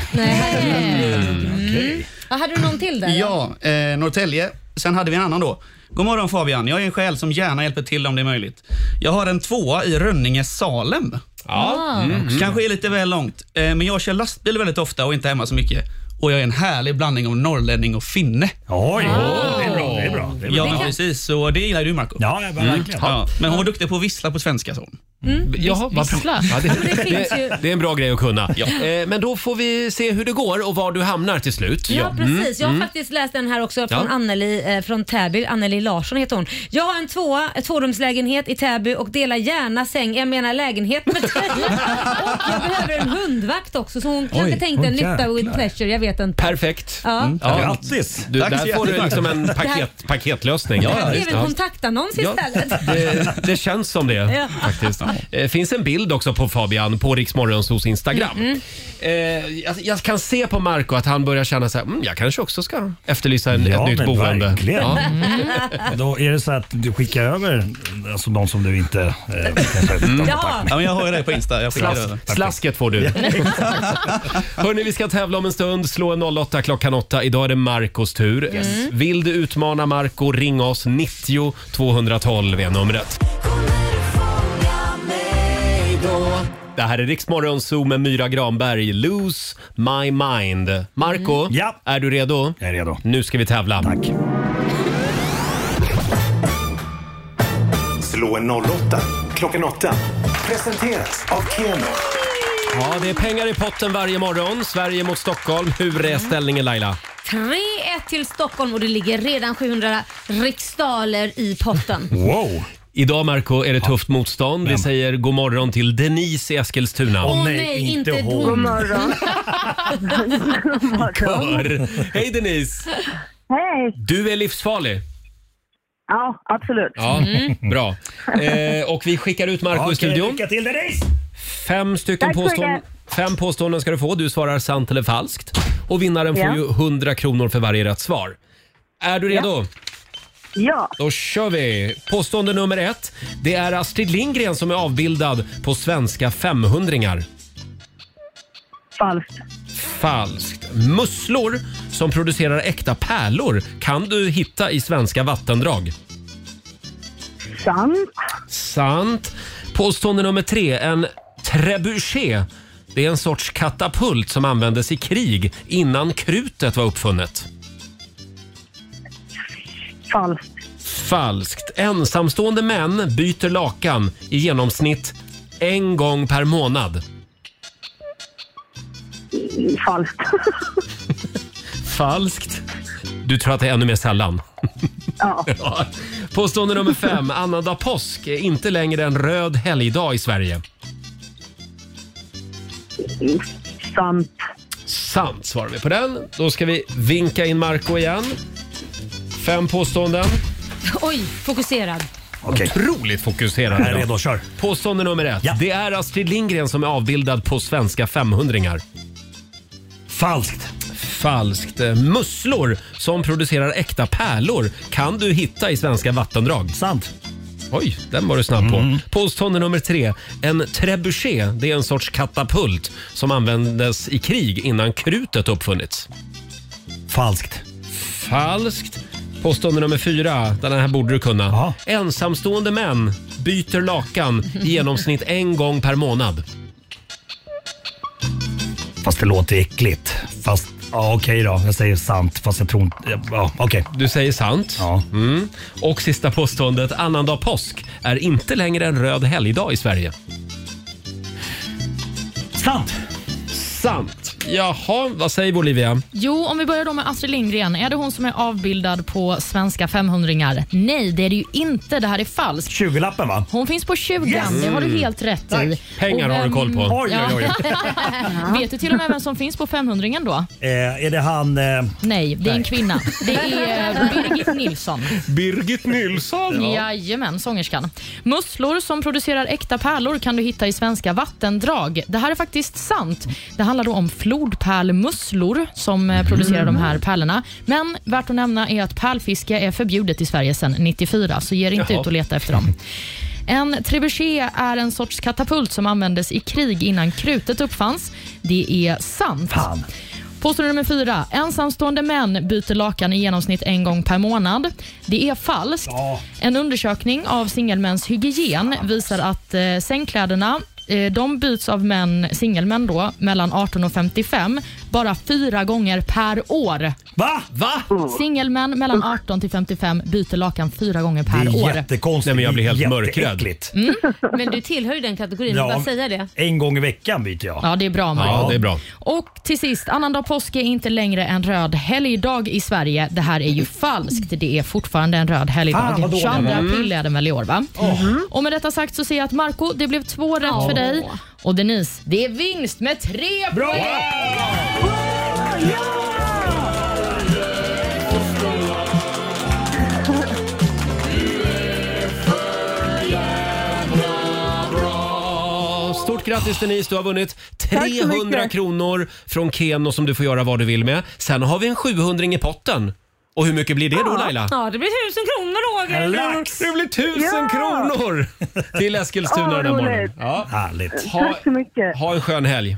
Ja, hade du någon till där? Ja, eh, Norrtälje. Sen hade vi en annan då. God morgon Fabian. Jag är en själ som gärna hjälper till om det är möjligt. Jag har en tvåa i Rönninge Salem. Mm. Ja. Kanske är lite väl långt, eh, men jag kör lastbil väldigt ofta och inte hemma så mycket. Och jag är en härlig blandning av norrlänning och finne. Oj, det är bra. Det är bra. Det är bra. Ja, men precis. Så det gillar du Marco. Ja, ja, Mm. verkligen. Ja, men hon var duktig på att vissla på svenska. Så. Jaha, vad bra. Vissla. Ja, det, Det finns ju- det, det är en bra grej att kunna. Eh, Men då får vi se hur det går och var du hamnar till slut. Ja, Mm. precis. Jag har faktiskt läst den här också från Ja. Anneli eh, från Täby. Anneli Larsson heter hon. Jag har en tvåa, ett tvårumslägenhet i Täby och delar gärna säng, jag menar lägenhet med dig. och jag behöver en hundvakt också så hon kanske tänkte en oj, nytta with jäklar. Mm. pleasure, jag vet inte. Perfekt. Ja. Ja. Grattis! Du, Tack så där får du jättemycket. liksom en paket, paketlösning. Ja, Jag ja, skrev en kontaktannons Ja, istället. det, det känns som det faktiskt. Det finns en bild också på Fabian på Riksmorgonsos Instagram. Eh, jag, jag kan se på Marco att han börjar känna så här, mm, jag kanske också ska efterlysa en, Ja, ett nytt men boende. verkligen. Ja. Då är det så att du skickar över alltså, de som du inte eh, kanske Mm. har kontakt Ja. med. Ja, men jag har ju dig på Insta. Jag skickar Slask, över. slasket får du. Hörni, vi ska tävla om en stund. Slå en 08 klockan 8. Idag är det Marcos tur. Mm. Vill du utmana Marco, ring oss. 90 212 är numret. Kommer du fånga mig då? Det här är Riksmorgon Zoo med Myra Granberg. Lose my mind. Marco, Mm. Ja. är du redo? Jag är redo. Nu ska vi tävla. Tack. Slå en 08 klockan 8. Presenteras av Keno. Ja, det är pengar i potten varje morgon. Sverige mot Stockholm. Hur Mm. är ställningen Laila? 3-1 till Stockholm och det ligger redan 700 riksdaler i potten. Wow! Idag Marco är det tufft motstånd. Vi säger god morgon till Denise i Eskilstuna. Åh, Åh nej, inte hon. hon. morgon. Hör. Hej Denise! Hej! Du är livsfarlig. Ja, absolut. Ja, bra. Eh, och vi skickar ut Marco i Okej, studion. lycka till Denise! Fem stycken Tack så mycket. påståenden. Fem påståenden ska du få. Du svarar sant eller falskt. Och vinnaren får Ja. ju 100 kronor för varje rätt svar. Är du redo? Ja, Då kör vi! Påstående nummer ett. Det är Astrid Lindgren som är avbildad på svenska 500-ringar. falskt. Falskt. Musslor som producerar äkta pärlor kan du hitta i svenska vattendrag. Sant. Sant. Påstående nummer tre. En trebuchet. Det är en sorts katapult som användes i krig innan krutet var uppfunnet. Falskt. Falskt. Ensamstående män byter lakan i genomsnitt en gång per månad. Falskt. Falskt. Du tror att det är ännu mer sällan? Ja. Ja. Påstående nummer fem. Annandag påsk är inte längre en röd helgdag i Sverige. Sant. Sant svarar vi på den. Då ska vi vinka in Marco igen. Fem påståenden. Oj, fokuserad. Okej, Otroligt jag är fokuserade. redo. idag. Kör! Påstående nummer ett. Ja. Det är Astrid Lindgren som är avbildad på svenska 500-ringar. Falskt. Falskt. eh, Musslor som producerar äkta pärlor kan du hitta i svenska vattendrag. Sant. Oj, den var du snabb på. Påstående nummer tre. En trebuchet, det är en sorts katapult som användes i krig innan krutet uppfunnits. Falskt. Falskt. Påstående nummer fyra. Den här borde du kunna. Ja. Ensamstående män byter lakan i genomsnitt en gång per månad. Fast det låter äckligt. Fast, ja okej då. Jag säger sant fast jag tror inte... Ja, okej. Du säger sant. Mm. Och sista påståendet, annandag påsk är inte längre en röd helgdag i Sverige. Sant! Sant. Jaha, vad säger Bolivia? Jo, om vi börjar då med Astrid Lindgren. Är det hon som är avbildad på svenska 500-ringar? Nej, det är det ju inte. Det här är falskt. 20-lappen va? Hon finns på 20 Yes! det har du helt rätt i. Pengar Och har du vem- koll på. Oj, oj, oj. Vet du till och med vem som finns på 500-ringen då? Eh, är det han... Eh, Nej, det är en kvinna. Det är eh, Birgit Nilsson. Birgit Nilsson! Jajamän, sångerskan. Musslor som producerar äkta pärlor kan du hitta i svenska vattendrag. Det här är faktiskt sant. Det handlar då om flodpärlmusslor som Mm. eh, producerar de här pärlorna. Men värt att nämna är att pärlfiske är förbjudet i Sverige sedan 94, så ge er inte Jaha. ut och leta efter dem. En trebuchet är en sorts katapult som användes i krig innan krutet uppfanns. Det är sant. fan. Påstående nummer fyra. Ensamstående män byter lakan i genomsnitt en gång per månad. Det är falskt. Ja. En undersökning av singelmäns hygien visar att eh, sängkläderna eh, de byts av män, singelmän då, mellan 18 och 55 bara fyra gånger per år. Va? Va? Singelmän mellan 18 till 55 byter lakan fyra gånger Det per är år. jättekonstigt. Nej, men jag blir helt Jätteäckligt. mörkrädd. Mm. Men du tillhör ju den kategorin, Ja. ja. bara säga det. En gång i veckan byter jag. Ja, det är bra Mario. Ja, det är bra. Och till sist, annandag påsk är inte längre en röd helgdag i Sverige. Det här är ju falskt. Det är fortfarande en röd Fan, vad helgdag. dålig 22 jag var. april är den väl i år va? Och med detta sagt så ser jag att Marco, det blev två rätt för dig. Och Denise, det är vinst med tre Bra! poäng! Ja, Stort grattis Denise, du har vunnit 300 kronor från Keno som du får göra vad du vill med. Sen har vi en 700 i potten. Och hur mycket blir det då Laila? Ja, det blir tusen kronor En Roger. lax! Ah. Det blir tusen Ja! kronor till Eskilstuna Ja, den här morgonen. roligt. Ja. Härligt. Ha, Tack så mycket. ha en skön helg.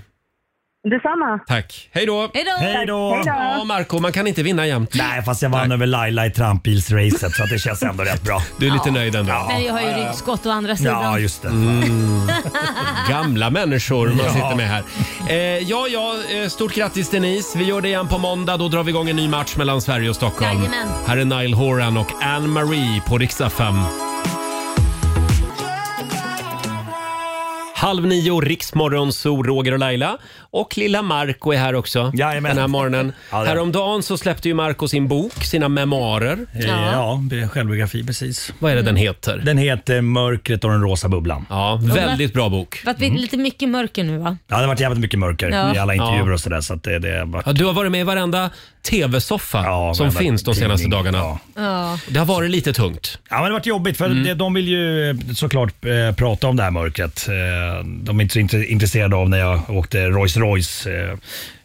Detsamma. Tack. Hej då. Hej då. Hej då! Ja, Marco, man kan inte vinna jämt. Nej, fast jag vann över Laila i trampbilsracet så att det känns ändå rätt bra. Du är lite nöjd ändå. Men jag har ju ryggskott å andra sidan. Ja, just det. Mm. Gamla människor man Ja. sitter med här. Eh, ja, ja, eh, stort grattis Denise. Vi gör det igen på måndag. Då drar vi igång en ny match mellan Sverige och Stockholm. Jajamän. Här är Nile Horan och Anne Marie på riksdag 5. Halv nio, Riksmorgon, så Roger och Laila. Och lilla Marco är här också Jajamän. den här morgonen. Ja, det är. Häromdagen så släppte ju Marco sin bok, sina memoarer. Ja, det är en självbiografi precis. Vad är det den heter? Den heter Mörkret och den rosa bubblan. Ja, väldigt bra bok. För att vi Mm. är lite mycket mörker nu va? Ja, det har varit jävligt mycket mörker Ja. i alla intervjuer Ja. och sådär. Så att det, det har varit... Ja, du har varit med i varenda TV-soffa Ja, som varenda finns de senaste tidning. dagarna. Ja. Ja. Det har varit lite tungt. Ja, men det har varit jobbigt för Mm. det- de vill ju eh, såklart eh, prata om det här mörkret. Eh, De är inte så int- intresserade av när jag åkte Rolls Royce eh,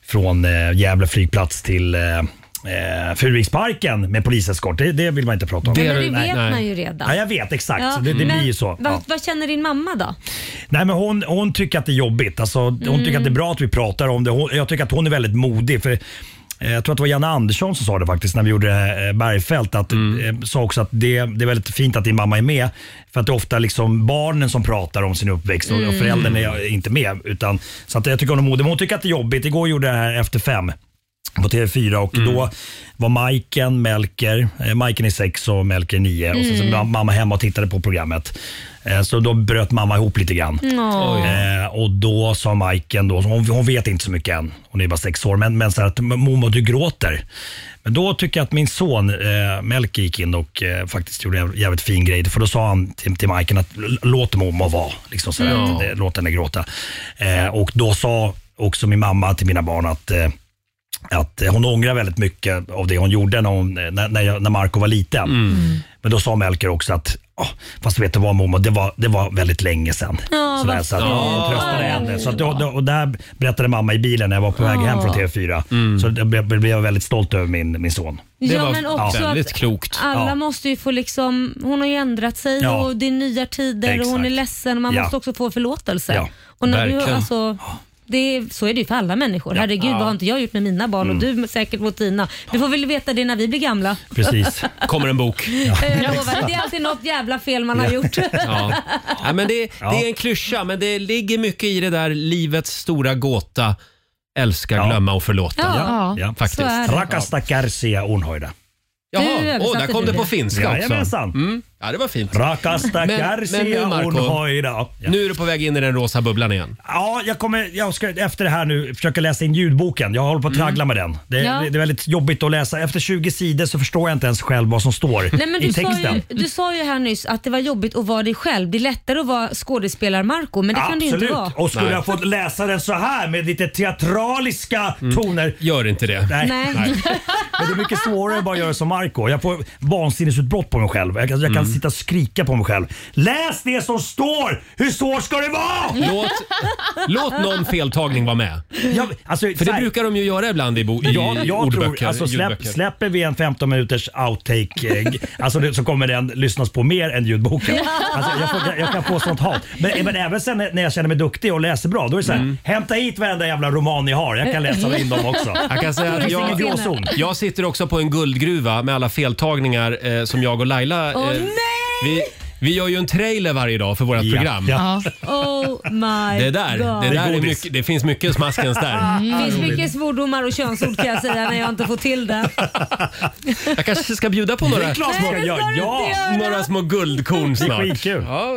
från eh, Gävle flygplats till eh, eh, Furuviksparken med poliseskort. Det, det vill man inte prata om. Det- Men det vet Nej, nej. man ju redan. Ja, jag vet exakt. Ja, Så det det men blir ju så. Vad, Ja. vad känner din mamma då? Nej, men hon, hon tycker att det är jobbigt. Alltså, Hon tycker att det är bra att vi pratar om det. Hon, jag tycker att hon är väldigt modig. För eh, jag tror att det var Janne Andersson som sa det faktiskt när vi gjorde eh, Bergfält. Att, eh, sa också att det, det är väldigt fint att din mamma är med. För att det är ofta liksom barnen som pratar om sin uppväxt och, och föräldern är inte med. Utan, så att jag tycker hon är modig. Men hon tycker att det är jobbigt. Igår gjorde jag det här Efter fem på TV4 och då var Majken, Melker, eh, Majken är sex och Melker är nio och sen så var mamma hemma och tittade på programmet. Eh, Så då bröt mamma ihop lite grann. Eh, och då sa Majken, då, hon, hon vet inte så mycket än, hon är bara sex år, men, men så här att mormor du gråter. Men då tycker jag att min son eh, Melker gick in och eh, faktiskt gjorde en jäv- jävligt fin grej. För då sa han till, till Majken att "L- låt mormor vara, liksom så här, att, eh, låt henne gråta. Eh, och då sa också min mamma till mina barn att eh, att eh, hon ångrar väldigt mycket av det hon gjorde när, hon, eh, när, när, jag, när Marco var liten. Mm. Mm. Men då sa Melker också att "Åh, Fast vet du vad mormor, det var, det var väldigt länge sedan. Sådär, så att hon tröstade henne. Så att, då- då- och där berättade mamma i bilen när jag var på väg hem från TV4. Mm. Så det blev blev jag väldigt stolt över min, min son. Det ja, var men också väldigt att klokt. Alla Ja. måste ju få liksom, hon har ju ändrat sig Ja. och det är nya tider och hon är Exakt. ledsen och man Ja. måste också få förlåtelse. Ja. Och när du, Verkligen. alltså, det är, så är det ju för alla människor. Herregud, vad har inte jag gjort med mina barn och du säkert mot dina. Du får väl veta det när vi blir gamla. Precis. Kommer en bok. Jag lovar, det är alltid något jävla fel man har gjort. Ja. Ja, men det, det är en klyscha, men det ligger mycket i det där livets stora gåta. Älska, glömma och förlåta. Ja, Ja. faktiskt. så är det. Rakastakarsia onhöjda. Nu Jaha, översatte åh, där kom du det på det. finska också. Jajamensan. Mm. Ja, det var fint. Men- men nu, Rakastakarsia Marco. onhöjda. Ja. Nu är du på väg in i den rosa bubblan igen. Ja, jag, kommer, jag ska efter det här nu försöka läsa in ljudboken. Jag håller på att traggla med den. Det, Mm. Ja. det, det är väldigt jobbigt att läsa. Efter 20 sidor så förstår jag inte ens själv vad som står Nej, men i du, sa texten. ju, du sa ju här nyss att det var jobbigt att vara dig själv. Det är lättare att vara skådespelar-Marco, men det kan det ju inte vara. Och skulle Nej. jag fått läsa den så här med lite teatraliska Mm. toner. Gör inte det. Nej. Nej. Men det är mycket svårare att bara göra som Marco. Jag får vansinnesutbrott på mig själv. Jag, kan- jag kan Mm. sitta och skrika på mig själv. Läs det som står! Hur svårt ska det vara? Låt, låt någon feltagning vara med. Mm. Jag, alltså, För så det här- brukar de ju göra ibland i, bo, i Jag, jag ordböcker. tror, alltså släpp, ljudböcker. släpper vi en 15 minuters outtake eh, g- alltså det, så kommer den lyssnas på mer än ljudboken. Alltså, jag, får, jag kan få sånt hat. Men, men även sen när jag känner mig duktig och läser bra, då är det så här, Mm. hämta hit varenda jävla roman ni har. Jag kan läsa in dem också. Jag kan säga att Det är ingen jag, gråzon. jag sitter också på en guldgruva med alla feltagningar eh, som jag och Laila... Eh, vi, vi gör ju en trailer varje dag för vårt Ja, program. ja. Ja. Oh my Det där, god. det, Det är där är godis. mycket, det finns mycket smaskens där. Mm. Det finns mycket svordomar och könsord kan jag säga när jag inte får till det. Jag kanske ska bjuda på några, Klart man ska göra. Ja. några små guldkorn snart. skitkul. Ja,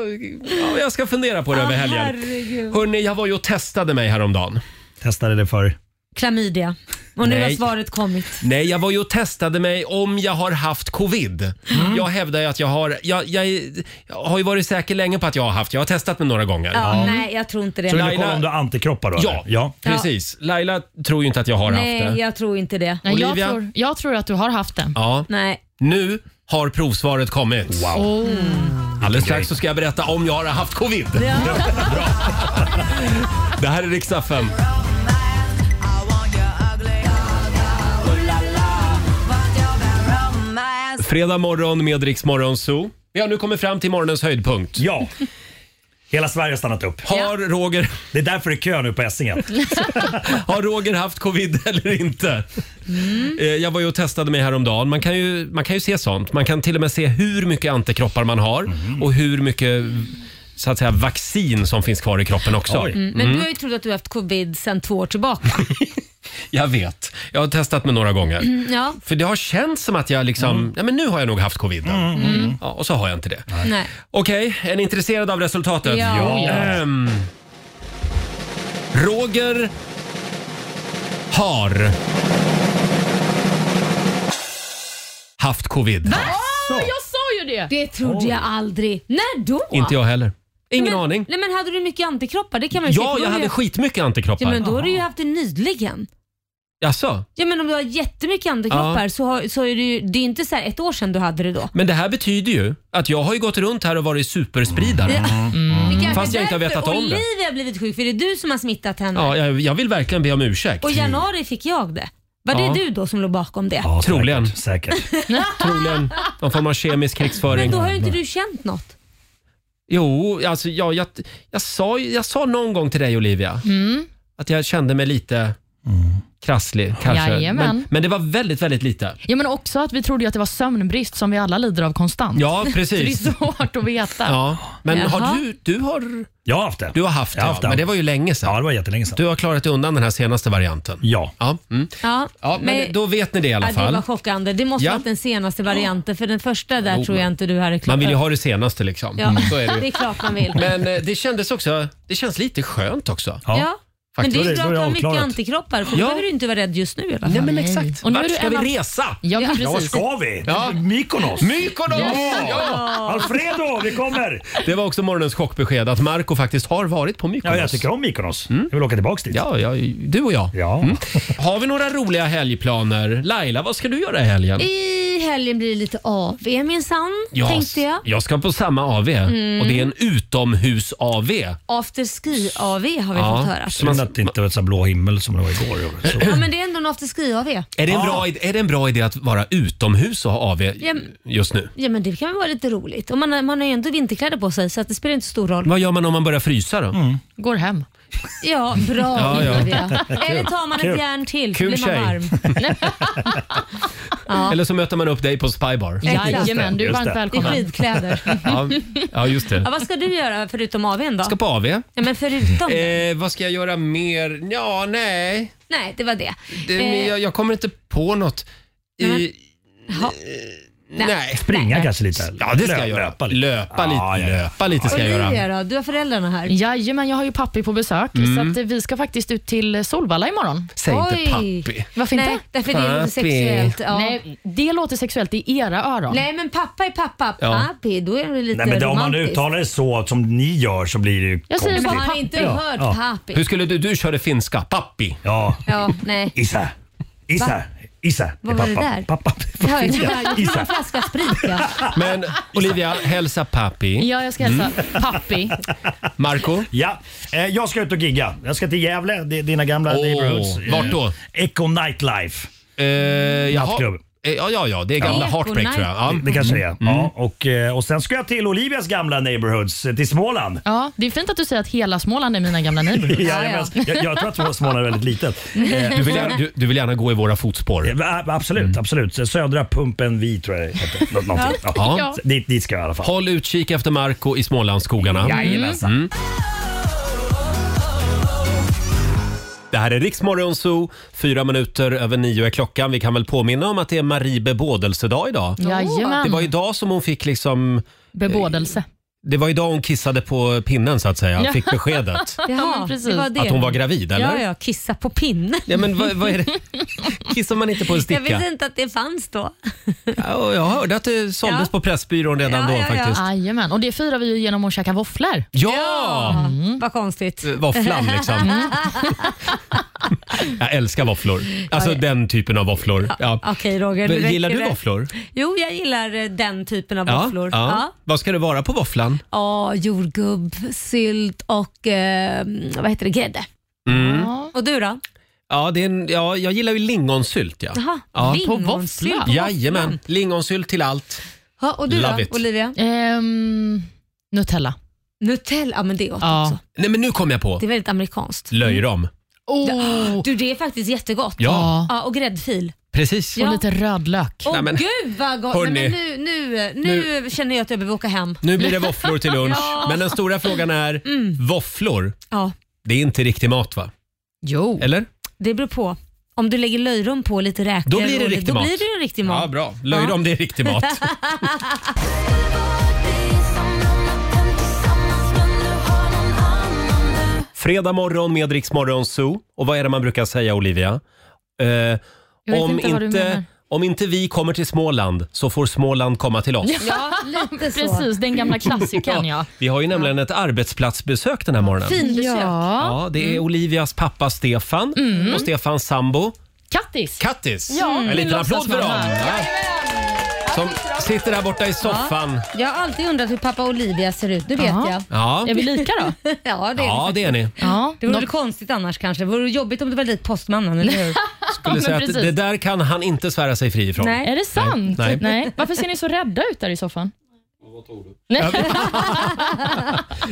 ja, jag ska fundera på det över helgen. Ah, herregud. Hörni, jag var ju och testade mig häromdagen. Testade det för Klamydia. Och nu har Nej. svaret kommit. Nej, jag var ju och testade mig om jag har haft covid. Jag hävdar ju att jag har... Jag, jag, är- jag har ju varit säker länge på att jag har haft. Jag har testat mig några gånger. Ja, Nej, jag tror inte det. Så vill du Laila- kolla om du har antikroppar då? Ja, eller? ja. precis. Laila tror ju inte att jag har haft Nej, det. jag tror inte det. Nej, jag, Olivia? tror, jag tror att du har haft den. Ja. Nej. Nu har provsvaret kommit. Wow. Oh. Alldeles strax så ska jag berätta om jag har haft covid. Det här är riksdag fem. Fredag morgon med Rix Morgon Zoo. Vi har nu kommit fram till morgonens höjdpunkt. Ja. Hela Sverige har stannat upp. Har Roger, Det är därför det är kö nu på Essingen. har Roger haft covid eller inte? Eh, Jag var ju och testade mig häromdagen. Man kan, ju, man kan ju se sånt. Man kan till och med se hur mycket antikroppar man har och hur mycket så att säga, vaccin som finns kvar i kroppen också. Oj. Men du har ju trott att du har haft covid sedan två år tillbaka. Jag vet. Jag har testat mig några gånger. Ja, För det har känts som att jag liksom, ja men nu har jag nog haft covid. Ja, och så har jag inte det. nej. Okej, är ni intresserade av resultatet? Ja. Ehm, Roger har haft covid. Ja, jag sa ju det! Det trodde jag aldrig. När då? Inte jag heller. Ingen men, aning. Nej, men hade du mycket antikroppar? Det kan man ju säga, Ja, för då jag har hade ju- skitmycket antikroppar. Ja, men då har du ju haft det nyligen. Jaså? Ja, men om du har jättemycket antikroppar så, har, så är det ju det är inte så här ett år sedan du hade det då. Men det här betyder ju att jag har ju gått runt här och varit superspridare. Mm. Det kanske Fast jag är inte har därför vetat om det. Olivia har blivit sjuk för det är du som har smittat henne. Ja, jag, jag vill verkligen be om ursäkt. Och i januari fick jag det. Var Ja. det du då som låg bakom det? Ja, Troligen. Säkert. säkert. Troligen någon form av kemisk Men krigsföring. då har ju inte du känt något. Jo, alltså jag, jag, jag, sa, jag sa någon gång till dig Olivia att jag kände mig lite krasslig kanske. Mm. Jajamän. Men, men det var väldigt, väldigt lite. Ja, men också att vi trodde ju att det var sömnbrist som vi alla lider av konstant. Ja, Så det är precis. svårt att veta. Ja, men har Jaha. du, du, har, Jag har haft det. du har haft det, Jag har ja, haft det. men det var ju länge Ja, sedan. det var jättelänge sedan. Du har klarat dig undan den här senaste varianten. Ja. Ja, mm. Ja, ja men, då vet ni det i alla Ja, det var fall. chockande. Det måste Ja. ha varit den senaste varianten för den första där Jo, tror jag men- inte du hade klarat. Man vill ju ha det senaste liksom. Ja. Mm, Så är det. Det ju. är klart man vill. Men eh, det kändes också, det känns lite skönt också. Ja. ja. Men det är Då ju är det- bra då att är du det har mycket avklarat. antikroppar för Ja. då behöver du inte vara rädd just nu i alla fall. Nej men exakt. Och nu är Vart du ska en av- vi resa? Ja, men Ja, vart precis. ska vi? Ja. Mykonos! Mykonos! Alfredo, vi kommer! Det var också morgonens chockbesked att Marco faktiskt har varit på Mykonos. Ja, jag tycker om Mykonos. Jag vill åka tillbaka dit. Ja, ja, du och jag. Ja. Har vi några roliga helgplaner? Laila, vad ska du göra i Eh, helgen? I helgen blir det lite AW minsann, Ja, tänkte jag. Mm. Jag ska på samma AV och det är en utomhus-AV. After ski AV har vi Ja. fått höra. Synd att det inte var så blå himmel som det var igår. Så. Ja, men det är ändå en after ski AV. Är det, en bra, id- är det en bra idé att vara utomhus och ha AV men- just nu? Ja, men det kan väl vara lite roligt. Och man, har- man har ju ändå vinterkläder på sig så att det spelar inte så stor roll. Vad gör man om man börjar frysa då? Mm. Går hem. Ja, bra Ja, ja. Olivia. Eller tar man ett Kul. järn till så Kul blir man tjej. varm. Ja. Eller så möter man upp dig på Spybar. Jajamän, du är varmt Det är välkommen. skidkläder. Ja, ja, just det. Ja, vad ska du göra förutom AWn då? Ska på AV. Ja, men förutom det? Eh, vad ska jag göra mer? Ja, nej. Nej, det var det. Det, Eh, men jag, jag kommer inte på något. I, eh, ha. nej. Springa kanske lite? Ja, det ska jag göra. Löpa Löpa lite. lite. Löpa lite, ska Ja, ja, ja. jag göra. Olivia då? Du har föräldrarna här. Jajamän, jag har ju pappi på besök så Mm. att eh, vi ska faktiskt ut till Solvalla imorgon. Säg Oj. inte pappi. Varför Nej, inte? därför det är Pappi. inte sexuellt. Ja. Nej. Nej, det låter sexuellt i era öron. men pappa är pappa. Ja. Pappi, då är det lite Nej, men det, om man romantiskt. uttalar det så som ni gör så blir det ju Jag säger Men konstigt. har bara- han Pappi. inte Ja, hört ja. pappi? Hur skulle du... Du körde finska. Pappi. Ja, Ja, nej. Isa. Isa. Isa. Vad Det är var det pappa. där? Pappa. Jag hörde bara jag tar Isa. en flaska sprit. Ja. Men Olivia, hälsa pappi. Ja, jag ska hälsa Mm. pappi. Marco? Ja, eh, jag ska ut och gigga. Jag ska till Gävle, det är dina gamla Åh, neighborhoods. Eh, vart då? Echo Nightlife. Eh, jaha. Nattklubb. Eh, Ja, ja, ja. Det är gamla Ja. Heartbreak tror jag. Ja. Det kanske det är. Ja, och, eh, och sen ska jag till Olivias gamla neighborhoods, eh, till Småland. Ja, det är fint att du säger att hela Småland är mina gamla neighborhoods. Ja, jag, menar, jag, jag tror att Småland är väldigt litet. Eh, Du vill, gärna, du, du vill gärna gå i våra fotspår. a- Absolut, absolut. Södra pumpen vi tror jag det heter. Nå- någonting. Mm. Ja. Ja. Så Dit, dit ska jag i alla fall. Håll utkik efter Marco i Smålandsskogarna. Mm. Jajamensan. Det här är Riksmorgon Zoo. Fyra minuter över nio är klockan. Vi kan väl påminna om att det är Marie bebådelsedag idag. Jajamän. Det var idag som hon fick liksom... Bebådelse. Det var idag hon kissade på pinnen så att säga. Ja. Fick beskedet Jaha, men precis. det var det. att hon var gravid, eller? Ja, ja, kissa på pinnen. Ja, men vad, vad är det? Kissar man inte på en Jag sticka? visste inte att det fanns då. Ja, jag hörde att det såldes Ja. på Pressbyrån redan Ja, då ja, ja. faktiskt. Jajamän, och det firar vi ju genom att käka våfflor. Ja! Mm. Vad konstigt. Eh, Våfflan liksom. jag älskar våfflor. Alltså den typen av våfflor. Ja. Okej Roger, nu Men Gillar räcker du det. våfflor? Jo, jag gillar eh, den typen av våfflor. Ja, Ja. Vad ska det vara på våfflan? Ja, jordgubb, sylt och eh, vad heter det, grädde. Mm. Ja. Och du då? Ja, det är en, ja, jag gillar ju lingonsylt. Ja. Jaha, Ja, på lingonsylt våffla. på Jajamän, lingonsylt till allt. Ja, och du då, Love it. Olivia? Ehm, Nutella. Nutella, ja men det är gott Ja. också. Nej, men nu kom jag på. Det är väldigt amerikanskt. Löjrom. Oh. Du, det är faktiskt jättegott. Ja, Ja, och gräddfil. precis. Och lite rödlök. Åh Nej, men- gud vad gott! Nej, men nu, Hörni. nu, nu, känner jag att jag behöver åka hem. Nu blir det våfflor till lunch. Ja. Men den stora frågan är, Mm. våfflor, Ja, det är inte riktig mat va? Jo. Eller? det beror på. Om du lägger löjrom på och lite räkor. Då blir det och- riktig då mat. Blir det ju riktig mat. Ja, bra. Löjrom, det är riktig mat. Fredag morgon med Rix Morgon Zoo. Och vad är det man brukar säga Olivia? Eh, vet om, inte vad du menar. inte, om inte vi kommer till Småland så får Småland komma till oss. Ja, lite så. precis. Den gamla klassikern, ja. Vi har ju nämligen ett arbetsplatsbesök den här morgonen. Ja. Ja, det är Olivias pappa Stefan och Stefans sambo Kattis. Kattis. Ja, en min liten applåd för dem. låtsasmamma. Ja. Som sitter där borta i soffan. Jag har alltid undrat hur pappa Olivia ser ut. Nu vet Ja. jag. Ja, Är vi lika då? Ja, det är ja det är ni. Ja. Det vore Nå- väl konstigt annars kanske. Det vore jobbigt om det var dit postmannen, eller hur? Skulle men säga att precis. det där kan han inte svära sig fri ifrån. Nej. Är det sant? Nej. Nej. Varför ser ni så rädda ut där i soffan? Vad tog du?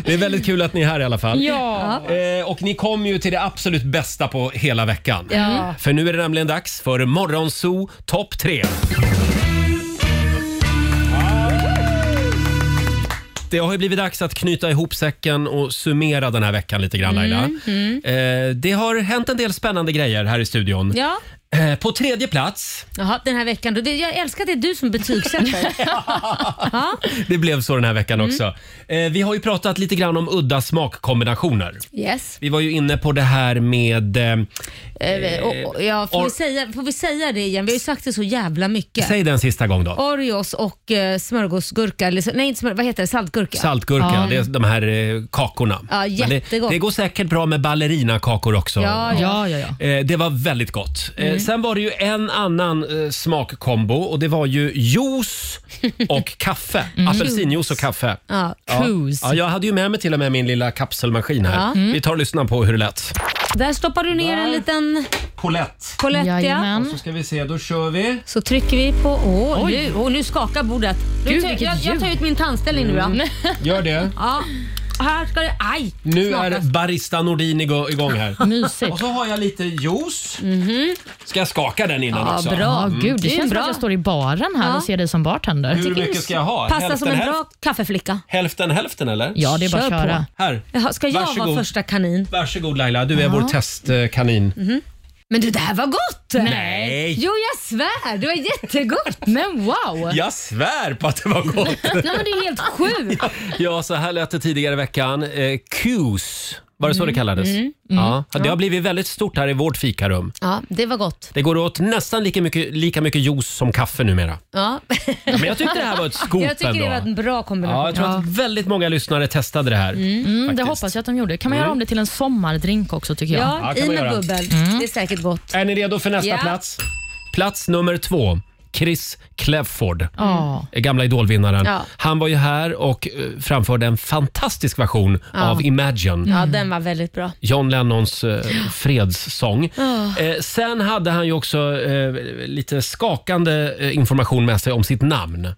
Det är väldigt kul att ni är här i alla fall. ja. Eh, och ni kom ju till det absolut bästa på hela veckan. Ja. För nu är det nämligen dags för Morgonzoo topp 3. Det har ju blivit dags att knyta ihop säcken och summera den här veckan lite grann Laila. Mm, Eh, det har hänt en del spännande grejer här i studion. Ja. Eh, på tredje plats, Jaha, den här veckan. då. Det- Jag älskar att det är du som betygsätter. ja. det blev så den här veckan Mm. också. Eh, vi har ju pratat lite grann om udda smakkombinationer. Yes. Vi var ju inne på det här med... Eh, Eh, och, och, ja, får, or- vi säga, får vi säga det igen? Vi har ju sagt det så jävla mycket. Säg den sista gång då. Oreos och eh, smörgåsgurka, eller, så- nej inte smör, vad heter det, saltgurka. Saltgurka, det är de här eh, kakorna. Ja, Men jättegott. Det, det går säkert bra med ballerinakakor också. Ja, Mm. ja. ja, ja, ja. Eh, det var väldigt gott. Eh, sen var det ju en annan eh, smakkombo och det var ju juice och kaffe. Apelsinjuice och kaffe. Mm. Ja. Cruise. Ja, jag hade ju med mig till och med min lilla kapselmaskin här. Ja. Mm. Vi tar och lyssnar på hur det lät. Där stoppar du ner en liten Colette. Colette. ja. Jajamän. Så ska vi se, då kör vi. Så trycker vi på... Åh, nu, åh, nu skakar bordet. Nu Gud, tar, vilket jag, jag tar ljud. Mm. ut min tandställning nu då. Gör det. Ja. här ska det... Aj! Nu är Smakar. barista Nordin igå- igång här. Mysigt. Och så har jag lite juice. Ska jag skaka den innan Mhm. Ja, också? bra. Ja, gud, det, Det är känns bra. som att jag står i baren här Ja. och ser dig som bartender. Hur tycker mycket du- ska jag ha? Passar som en hälften, bra kaffeflicka. Hälften hälften eller? Ja, det är bara att Kör köra. på. Här, Jaha, Ska jag varsågod. vara första kanin? Varsågod Laila, du är vår testkanin. Men du, det här var gott! Nej. Jo, jag svär. Det var jättegott. Men wow! Jag svär på att det var gott. Nej, men det är helt sjukt. ja, så här lät det tidigare i veckan. Eh, Qs, var det så det kallades? Mm. Ja, det har blivit väldigt stort här i vårt fikarum. Ja, det var gott. Det går åt nästan lika mycket, lika mycket juice som kaffe numera. Ja. Men jag tyckte det här var ett scoop Jag tycker ändå. det var en bra kombination. Ja, jag tror Ja. att väldigt många lyssnare testade det här. Mm, det faktiskt. hoppas jag att de gjorde. Kan man göra om det till en sommardrink också tycker jag? Ja, Ja, kan i man med göra. Mm. bubbel. Det är säkert gott. Är ni redo för nästa Ja. plats? Plats nummer två. Chris Clefford, Ja. eh, gamla idolvinnaren. Ja. Han var ju här och eh, framförde en fantastisk version av Imagine. Ja, den var väldigt bra. John Lennons eh, fredssång. Eh, sen hade han ju också eh, lite skakande eh, information med sig om sitt namn.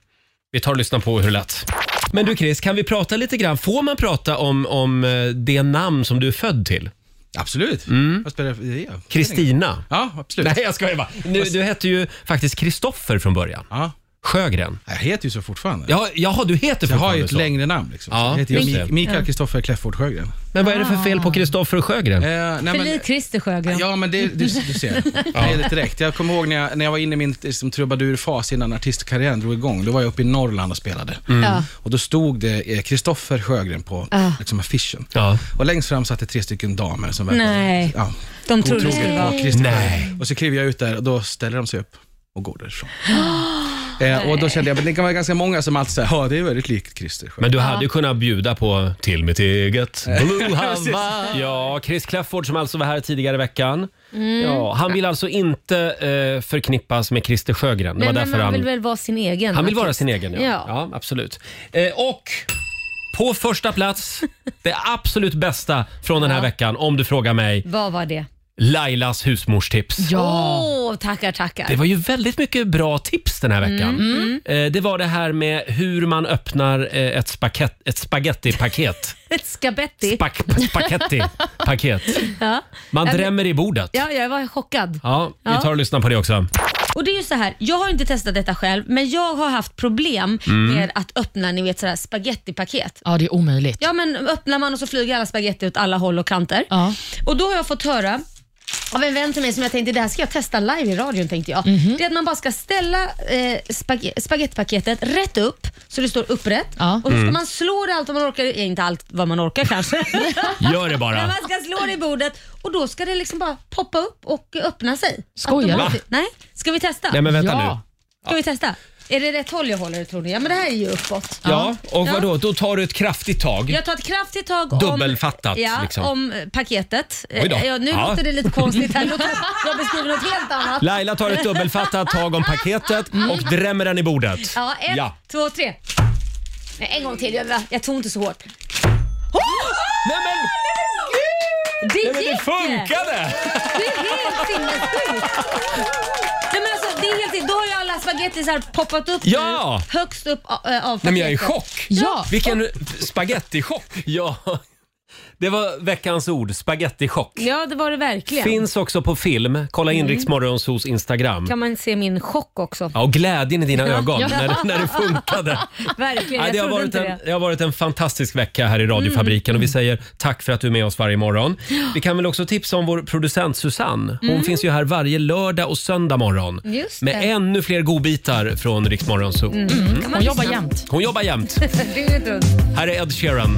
Vi tar och lyssnar på hur det lät. Men du Chris, kan vi prata lite grann? Får man prata om, om eh, det namn som du är född till? Absolut. Vad spelar det för det? är- Kristina? Ja, absolut. Nej, jag skojar bara. Nu, du hette ju faktiskt Kristoffer från början. Ja. Sjögren. Jag heter ju så fortfarande. Ja, jaha, du heter Jag har ju fortfarande ett så. längre namn. Liksom. Ja, jag heter ju just Mik- det. Mikael Kristoffer Kläfford Sjögren. Eh, Men vad är det för fel på Kristoffer och Sjögren? nej, För men- lik Christer Sjögren. Ja, men det, du, du ser. Det är det direkt. Jag kommer ihåg när jag, när jag var inne i min liksom, trubadurfas innan artistkarriären drog igång. Då var jag uppe i Norrland och spelade. Mm. Ja. Och då stod det eh, Kristoffer Sjögren på liksom, affischen. Ja. Och längst fram satt det tre stycken damer som Nej. Ja, De trodde det godtrogen skulle vara... på Kristoffer. Nej. Och så kliver jag ut där och då ställer de sig upp och går därifrån. eh, och då kände jag, men det kan vara ganska många som alltid säger, ja det är väldigt likt Christer Sjögren. Men du hade ju kunnat bjuda på till mitt eget Blue Hawaii. Ja, Chris Clafford som alltså var här tidigare i veckan. Mm. Ja, han vill alltså inte eh, förknippas med Christer Sjögren. Det var Nej, men därför man han, vill väl vara sin egen? han vill vara artist. sin egen. Ja, ja. Ja. absolut. Eh, och på första plats, det absolut bästa från den här veckan om du frågar mig, Vad var det? Lailas husmorstips. Ja. Åh, tackar, tackar. Det var ju väldigt mycket bra tips den här veckan. Mm. Eh, Det var det här med hur man öppnar eh, ett, spakett, ett spagettipaket. Ett skabetti. Spak, spagetti paket. Man Ja, men- drämmer i bordet. Ja. ja, jag var chockad. vi tar och lyssnar på det också. Och det är ju så här, jag har inte testat detta själv, men jag har haft problem med att öppna ni vet sådär spagettipaket. ja, det är omöjligt. Ja men öppnar man och så flyger alla spagetti åt alla håll och kanter. Ja. Och då har jag fått höra av en vän till mig som jag tänkte det här ska jag testa live i radion tänkte jag. Mhm. Det är att man bara ska ställa eh, spag- spagettipaketet rätt upp så det står upprätt Ja. och så ska man slå det allt vad man orkar, eh, inte allt vad man orkar kanske. Gör det Men bara. man ska slå det i bordet och då ska det liksom bara poppa upp och öppna sig. Skojar du? Automatiskt. Nej, ska vi testa? Nej men vänta Ja. nu. Ska vi testa? Är det rätt håll jag håller tror ni? Ja men det här är ju uppåt. Ja, och Ja. vadå? Då tar du ett kraftigt tag. Jag tar ett kraftigt tag om, Dubbelfattat, ja, liksom. om eh, paketet. Oj då. Eh, Ja, nu Ja. låter det lite konstigt här. Låter, jag beskriver något helt annat. Laila tar ett dubbelfattat tag om paketet och drämmer den i bordet. Ja, ett, Ja. två, tre. Nej, en gång till. Jag, jag tog inte så hårt. Nej men, nej, Det men det gick! funkade! Det är helt sinnessjukt. Nej, men alltså, det är helt, då har ju alla spagettisar poppat upp Ja. nu, högst upp eh, av paketet. Nej men jag är i chock. Ja. Vilken spagettichock! Ja, det var veckans ord, spagettichock. Ja, det var det verkligen. Finns också på film. Kolla in Rix Morgonzoos Instagram. Kan man se min chock också? Ja, och glädjen i dina ögon Ja. när, när det funkade. Verkligen, Nej, jag det, har trodde varit inte en, Mm. det. det har varit en fantastisk vecka här i radiofabriken och vi säger tack för att du är med oss varje morgon. Vi kan väl också tipsa om vår producent Susanne. Hon finns ju här varje lördag och söndag morgon Just med det. ännu fler godbitar från Rix Morgonzoo. Hon jobbar jämt. Hon jobbar jämt. Dygnet runt. Här är Ed Sheeran.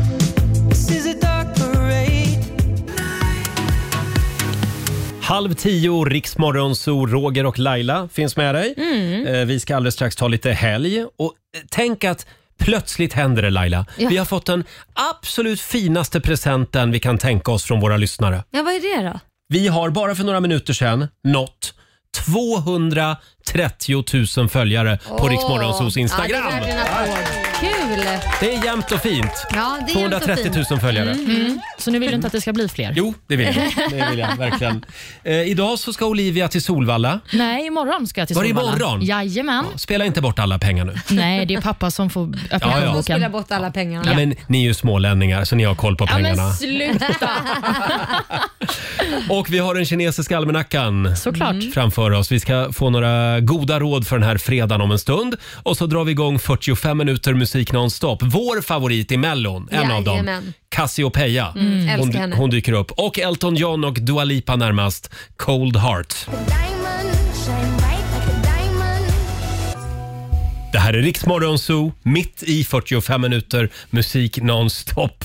Halv tio, Riksmorgonzoo, Roger och Laila finns med dig. Eh, Vi ska alldeles strax ta lite helg. Och eh, tänk att plötsligt händer det Laila. Vi har fått den absolut finaste presenten vi kan tänka oss från våra lyssnare. Ja, vad är det då? Vi har bara för några minuter sedan nått 200 30 000 följare på Åh, Rix Morgonzos Instagram. Ja, det är värt en applåd. Kul! Det är jämnt och fint. Ja, det är jämnt och 230 000 fint. följare. Mm, mm. Så nu vill du inte att det ska bli fler? Jo, det vill jag. Det vill jag verkligen. Eh, idag så ska Olivia till Solvalla. Nej, imorgon ska jag till Var det Solvalla. imorgon? Jajamän. Spela inte bort alla pengar nu. Nej, det är pappa som får öppna Ja, ja. plånboken. Får spela bort alla pengarna. Nej, men ni är ju smålänningar så ni har koll på Ja, men pengarna. sluta! Och vi har den kinesiska almanackan Såklart. Mm. framför oss. Vi ska få några goda råd för den här fredagen om en stund. Och så drar vi igång 45 minuter musik nonstop. Vår favorit i Mellon, en av dem. Jajamän. Cassiopeia. Mm, hon, älskar henne. hon dyker upp. Och Elton John och Dua Lipa närmast. Cold Heart. Det här är Riksmorgon Zoo, mitt i 45 minuter musik nonstop.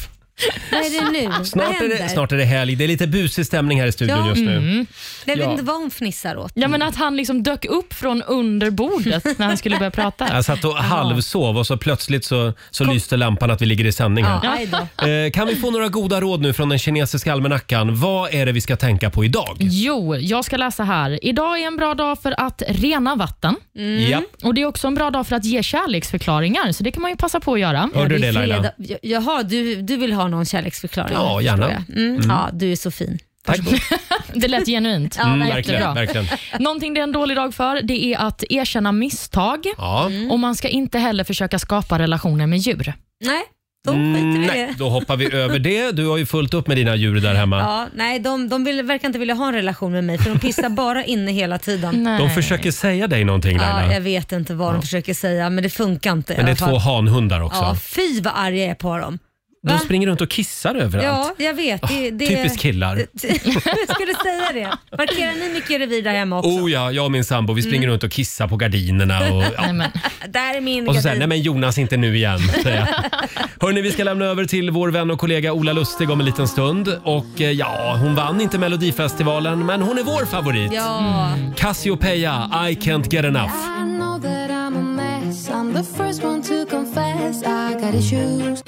Vad är det nu? Vad Snart är, det, händer? snart är det helg. Det är lite busig stämning här i studion Ja. just nu. Mm. Jag vet Ja. inte vad hon fnissar åt. Ja, men att han liksom dök upp från under bordet när han skulle börja prata. Jag satt och halvsov och så plötsligt så, så lyste lampan att vi ligger i sändning här. Ja, aj då. Eh, Kan vi få några goda råd nu från den kinesiska almanackan? Vad är det vi ska tänka på idag? Jo, jag ska läsa här. Idag är en bra dag för att rena vatten. Mm. Ja. Och Det är också en bra dag för att ge kärleksförklaringar, så det kan man ju passa på att göra. Hörde du det Laila? Fredag. J- Jaha, du, du vill ha någon kärleksförklaring? Ja, gärna. förstår jag. Mm. Ja, du är så fin. Tack. Det lät genuint. Ja, Mm, Jättebra. verkligen, verkligen. Någonting det är en dålig dag för det är att erkänna misstag Ja. Mm. och man ska inte heller försöka skapa relationer med djur. Nej, då skiter Mm, vi i nej, det. då hoppar vi över det. Du har ju fullt upp med dina djur där hemma. Ja, nej, de, de vill, verkar inte vilja ha en relation med mig för de pissar bara inne hela tiden. De försöker säga dig någonting Ja, jag Laila. vet inte vad de försöker säga men det funkar inte. i Men det är alla fall. två hanhundar också. Ja, fy vad arg jag är på dem. De Va? springer runt och kissar överallt. Ah, Ja, jag vet. Det, det, Typiskt killar. jag skulle säga det. Markerar ni mycket revir där hemma också? Oh ja, jag och min sambo vi Mm. springer runt och kissar på gardinerna. Och, ja. Nej, men. Där är min Och så säger jag, nej gardin. men Jonas inte nu igen. säger jag. Hörni, vi ska lämna över till vår vän och kollega Ola Lustig om en liten stund. Och eh, ja, hon vann inte Melodifestivalen, men hon är vår favorit. Ja. Cassiopeia, I can't get enough. I know that I'm a mess. I'm the first one to confess. I got issues.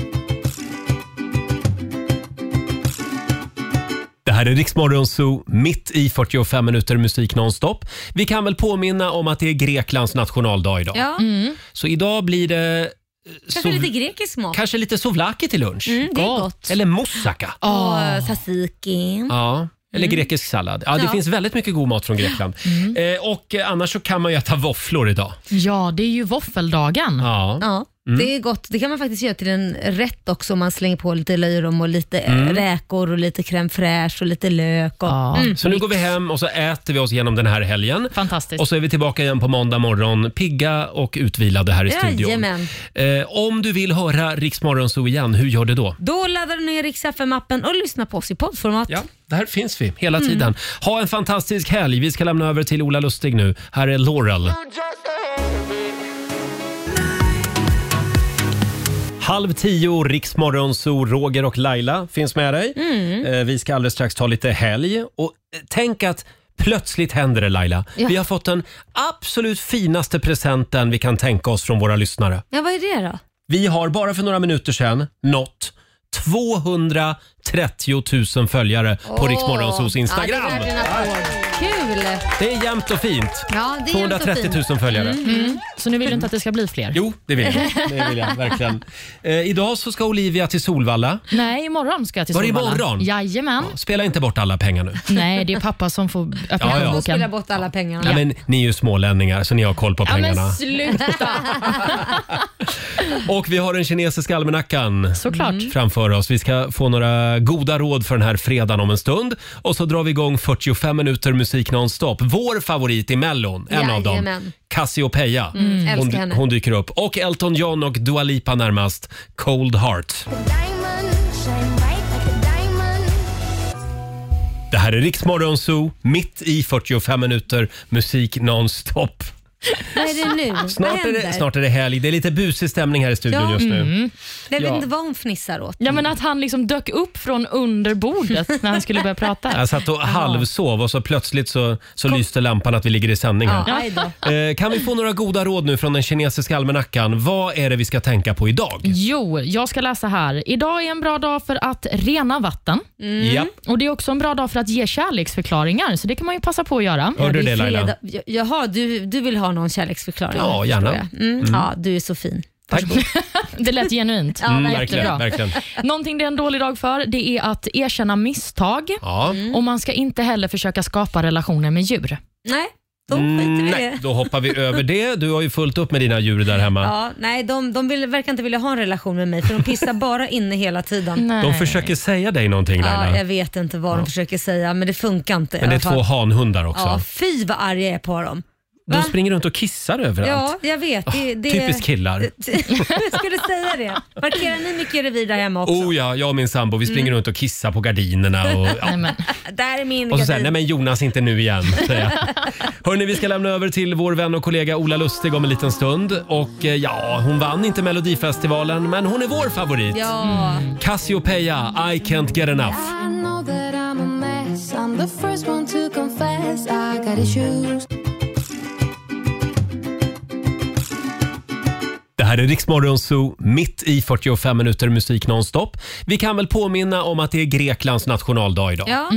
Det här är Riksmorgon Zoo, mitt i 45 minuter musik nonstop. Vi kan väl påminna om att det är Greklands nationaldag idag. Ja, Så idag blir det... eh, kanske sov- lite grekisk mat. kanske lite souvlaki till lunch. Mm, det är gott. Eller moussaka. Och eh, tzatziki. Ah. Ja. Eller grekisk sallad. Ja, det Ja. finns väldigt mycket god mat från Grekland. Eh, och eh, annars så kan man ju äta våfflor idag. Ja, det är ju våffeldagen. Ja. Ja, Mm. det är gott. Det kan man faktiskt göra till en rätt också om man slänger på lite löjrom och lite eh, Mm. räkor och lite crème fraîche och lite lök. Och, Ja. Så nu går vi hem och så äter vi oss igenom den här helgen. Fantastiskt. Och så är vi tillbaka igen på måndag morgon, pigga och utvilade här i studion. Jajamän. Eh, om du vill höra Riksmorgon så igen, hur gör du då? Då laddar du ner Rix FM-appen och lyssnar på oss i poddformat. Ja, där finns vi hela tiden. Ha en fantastisk helg. Vi ska lämna över till Ola Lustig nu. Här är Laurel. Halv tio, Riksmorgon, så Roger och Laila finns med dig. Eh, Vi ska alldeles strax ta lite helg. Och eh, tänk att plötsligt händer det Laila. Ja. Vi har fått den absolut finaste presenten vi kan tänka oss från våra lyssnare. Ja, vad är det då? Vi har bara för några minuter sedan nått 230 000 följare på Rix Morgonzos Instagram. Ja, det är värt en applåd. Kul! det är jämnt och fint. Ja, det är jämnt och Mm. 230 000 följare. Så nu vill du inte att det ska bli fler? Jo, det vill jag. Det vill jag verkligen. Eh, idag så ska Olivia till Solvalla. Nej, imorgon ska jag till Var det Solvalla. imorgon? Jajamän. Spela inte bort alla pengar nu. Nej, det är pappa som får öppna Ja, ja. Och spela plånboken. bort alla pengarna. Ja. men, ni är ju smålänningar så ni har koll på Ja, men pengarna. sluta! Och vi har den kinesiska almanackan. Såklart. framför oss. Vi ska få några goda råd för den här fredagen om en stund. Och så drar vi igång 45 minuter musik nonstop. Vår favorit i Mellon, en av dem. Jajamän. Mm, Cassiopeia. älskar hon, henne. hon dyker upp. Och Elton John och Dua Lipa närmast. Cold Heart. Det här är Riksmorgon Zoo, mitt i 45 minuter musik nonstop. Vad är det nu? vad Snart är, händer? det, snart är det helg. Det är lite busig stämning här i studion Ja. Mm. just nu. Jag vet Ja. inte vad hon fnissar åt. Ja, men att han liksom dök upp från under bordet när han skulle börja prata. Jag satt och halvsov och så plötsligt så, så lyste lampan att vi ligger i sändning här. Ja, aj då. Eh, Kan vi få några goda råd nu från den kinesiska almanackan? Vad är det vi ska tänka på idag? Jo, jag ska läsa här. Idag är en bra dag för att rena vatten. Mm. Ja. Och Det är också en bra dag för att ge kärleksförklaringar, så det kan man ju passa på att göra. Hörde du det är Laila? fredag- J- Jaha, du, du vill ha ha någon kärleksförklaring? Ja, gärna. förstår jag. Mm. Mm. Ja, du är så fin. Tack. Det lät genuint. Mm, verkligen, verkligen. Någonting det är en dålig dag för det är att erkänna misstag Ja. Mm, och man ska inte heller försöka skapa relationer med djur. Nej, då skiter Mm, vi i nej, det. då hoppar vi över det. Du har ju fullt upp med dina djur där hemma. Ja, nej, de, de vill, verkar inte vilja ha en relation med mig för de pissar bara inne hela tiden. Nej. De försöker säga dig någonting Laila. Ja, jag vet inte vad de försöker säga men det funkar inte. Men i det är alla fall. två hanhundar också. Ja, fy vad arg jag är på dem. De Va? springer runt och kissar överallt. Ja, jag vet. Det, det... Ah, Typiskt killar. jag skulle säga det. Markerar ni mycket revir där hemma också? Mm. Oh ja, jag och min sambo vi springer runt och kissar på gardinerna. Och, ja. Nej, men. Där är min och så säger jag, gardin. nej men Jonas inte nu igen. säger jag. Hörni, vi ska lämna över till vår vän och kollega Ola Lustig om en liten stund. Och eh, ja, hon vann inte Melodifestivalen, men hon är vår favorit. Mm. Ja. Cassiopeia, I can't get enough. I know that I'm a mess. I'm the first one to confess I got issues. Det här är Riksmorgon Zoo, mitt i 45 minuter musik nonstop. Vi kan väl påminna om att det är Greklands nationaldag idag. Ja,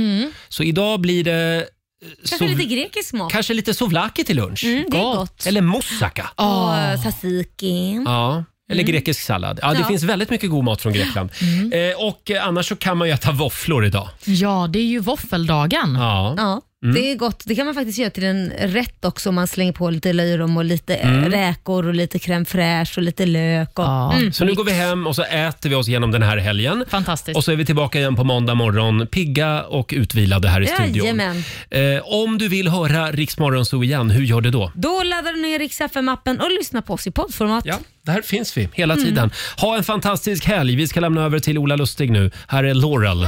Så idag blir det... eh, kanske lite grekisk mat. kanske lite souvlaki till lunch. Mm, det är gott. Eller moussaka. Ah. Och eh, tzatziki. Ja. Eller grekisk sallad. Ja, det Ja. finns väldigt mycket god mat från Grekland. Eh, och eh, annars så kan man ju äta våfflor idag. Ja, det är ju våffeldagen. Ja. Ja, det är gott. Det kan man faktiskt göra till en rätt också om man slänger på lite löjrom och lite eh, Mm. räkor och lite crème fraîche och lite lök. Och, Ja. Så nu går vi hem och så äter vi oss igenom den här helgen. Fantastiskt. Och så är vi tillbaka igen på måndag morgon, pigga och utvilade här i studion. Jajamän. Eh, om du vill höra Riksmorgon så igen, hur gör du då? Då laddar du ner Rix FM-appen och lyssnar på oss i poddformat. Ja, där finns vi hela tiden. Ha en fantastisk helg. Vi ska lämna över till Ola Lustig nu. Här är Laurel.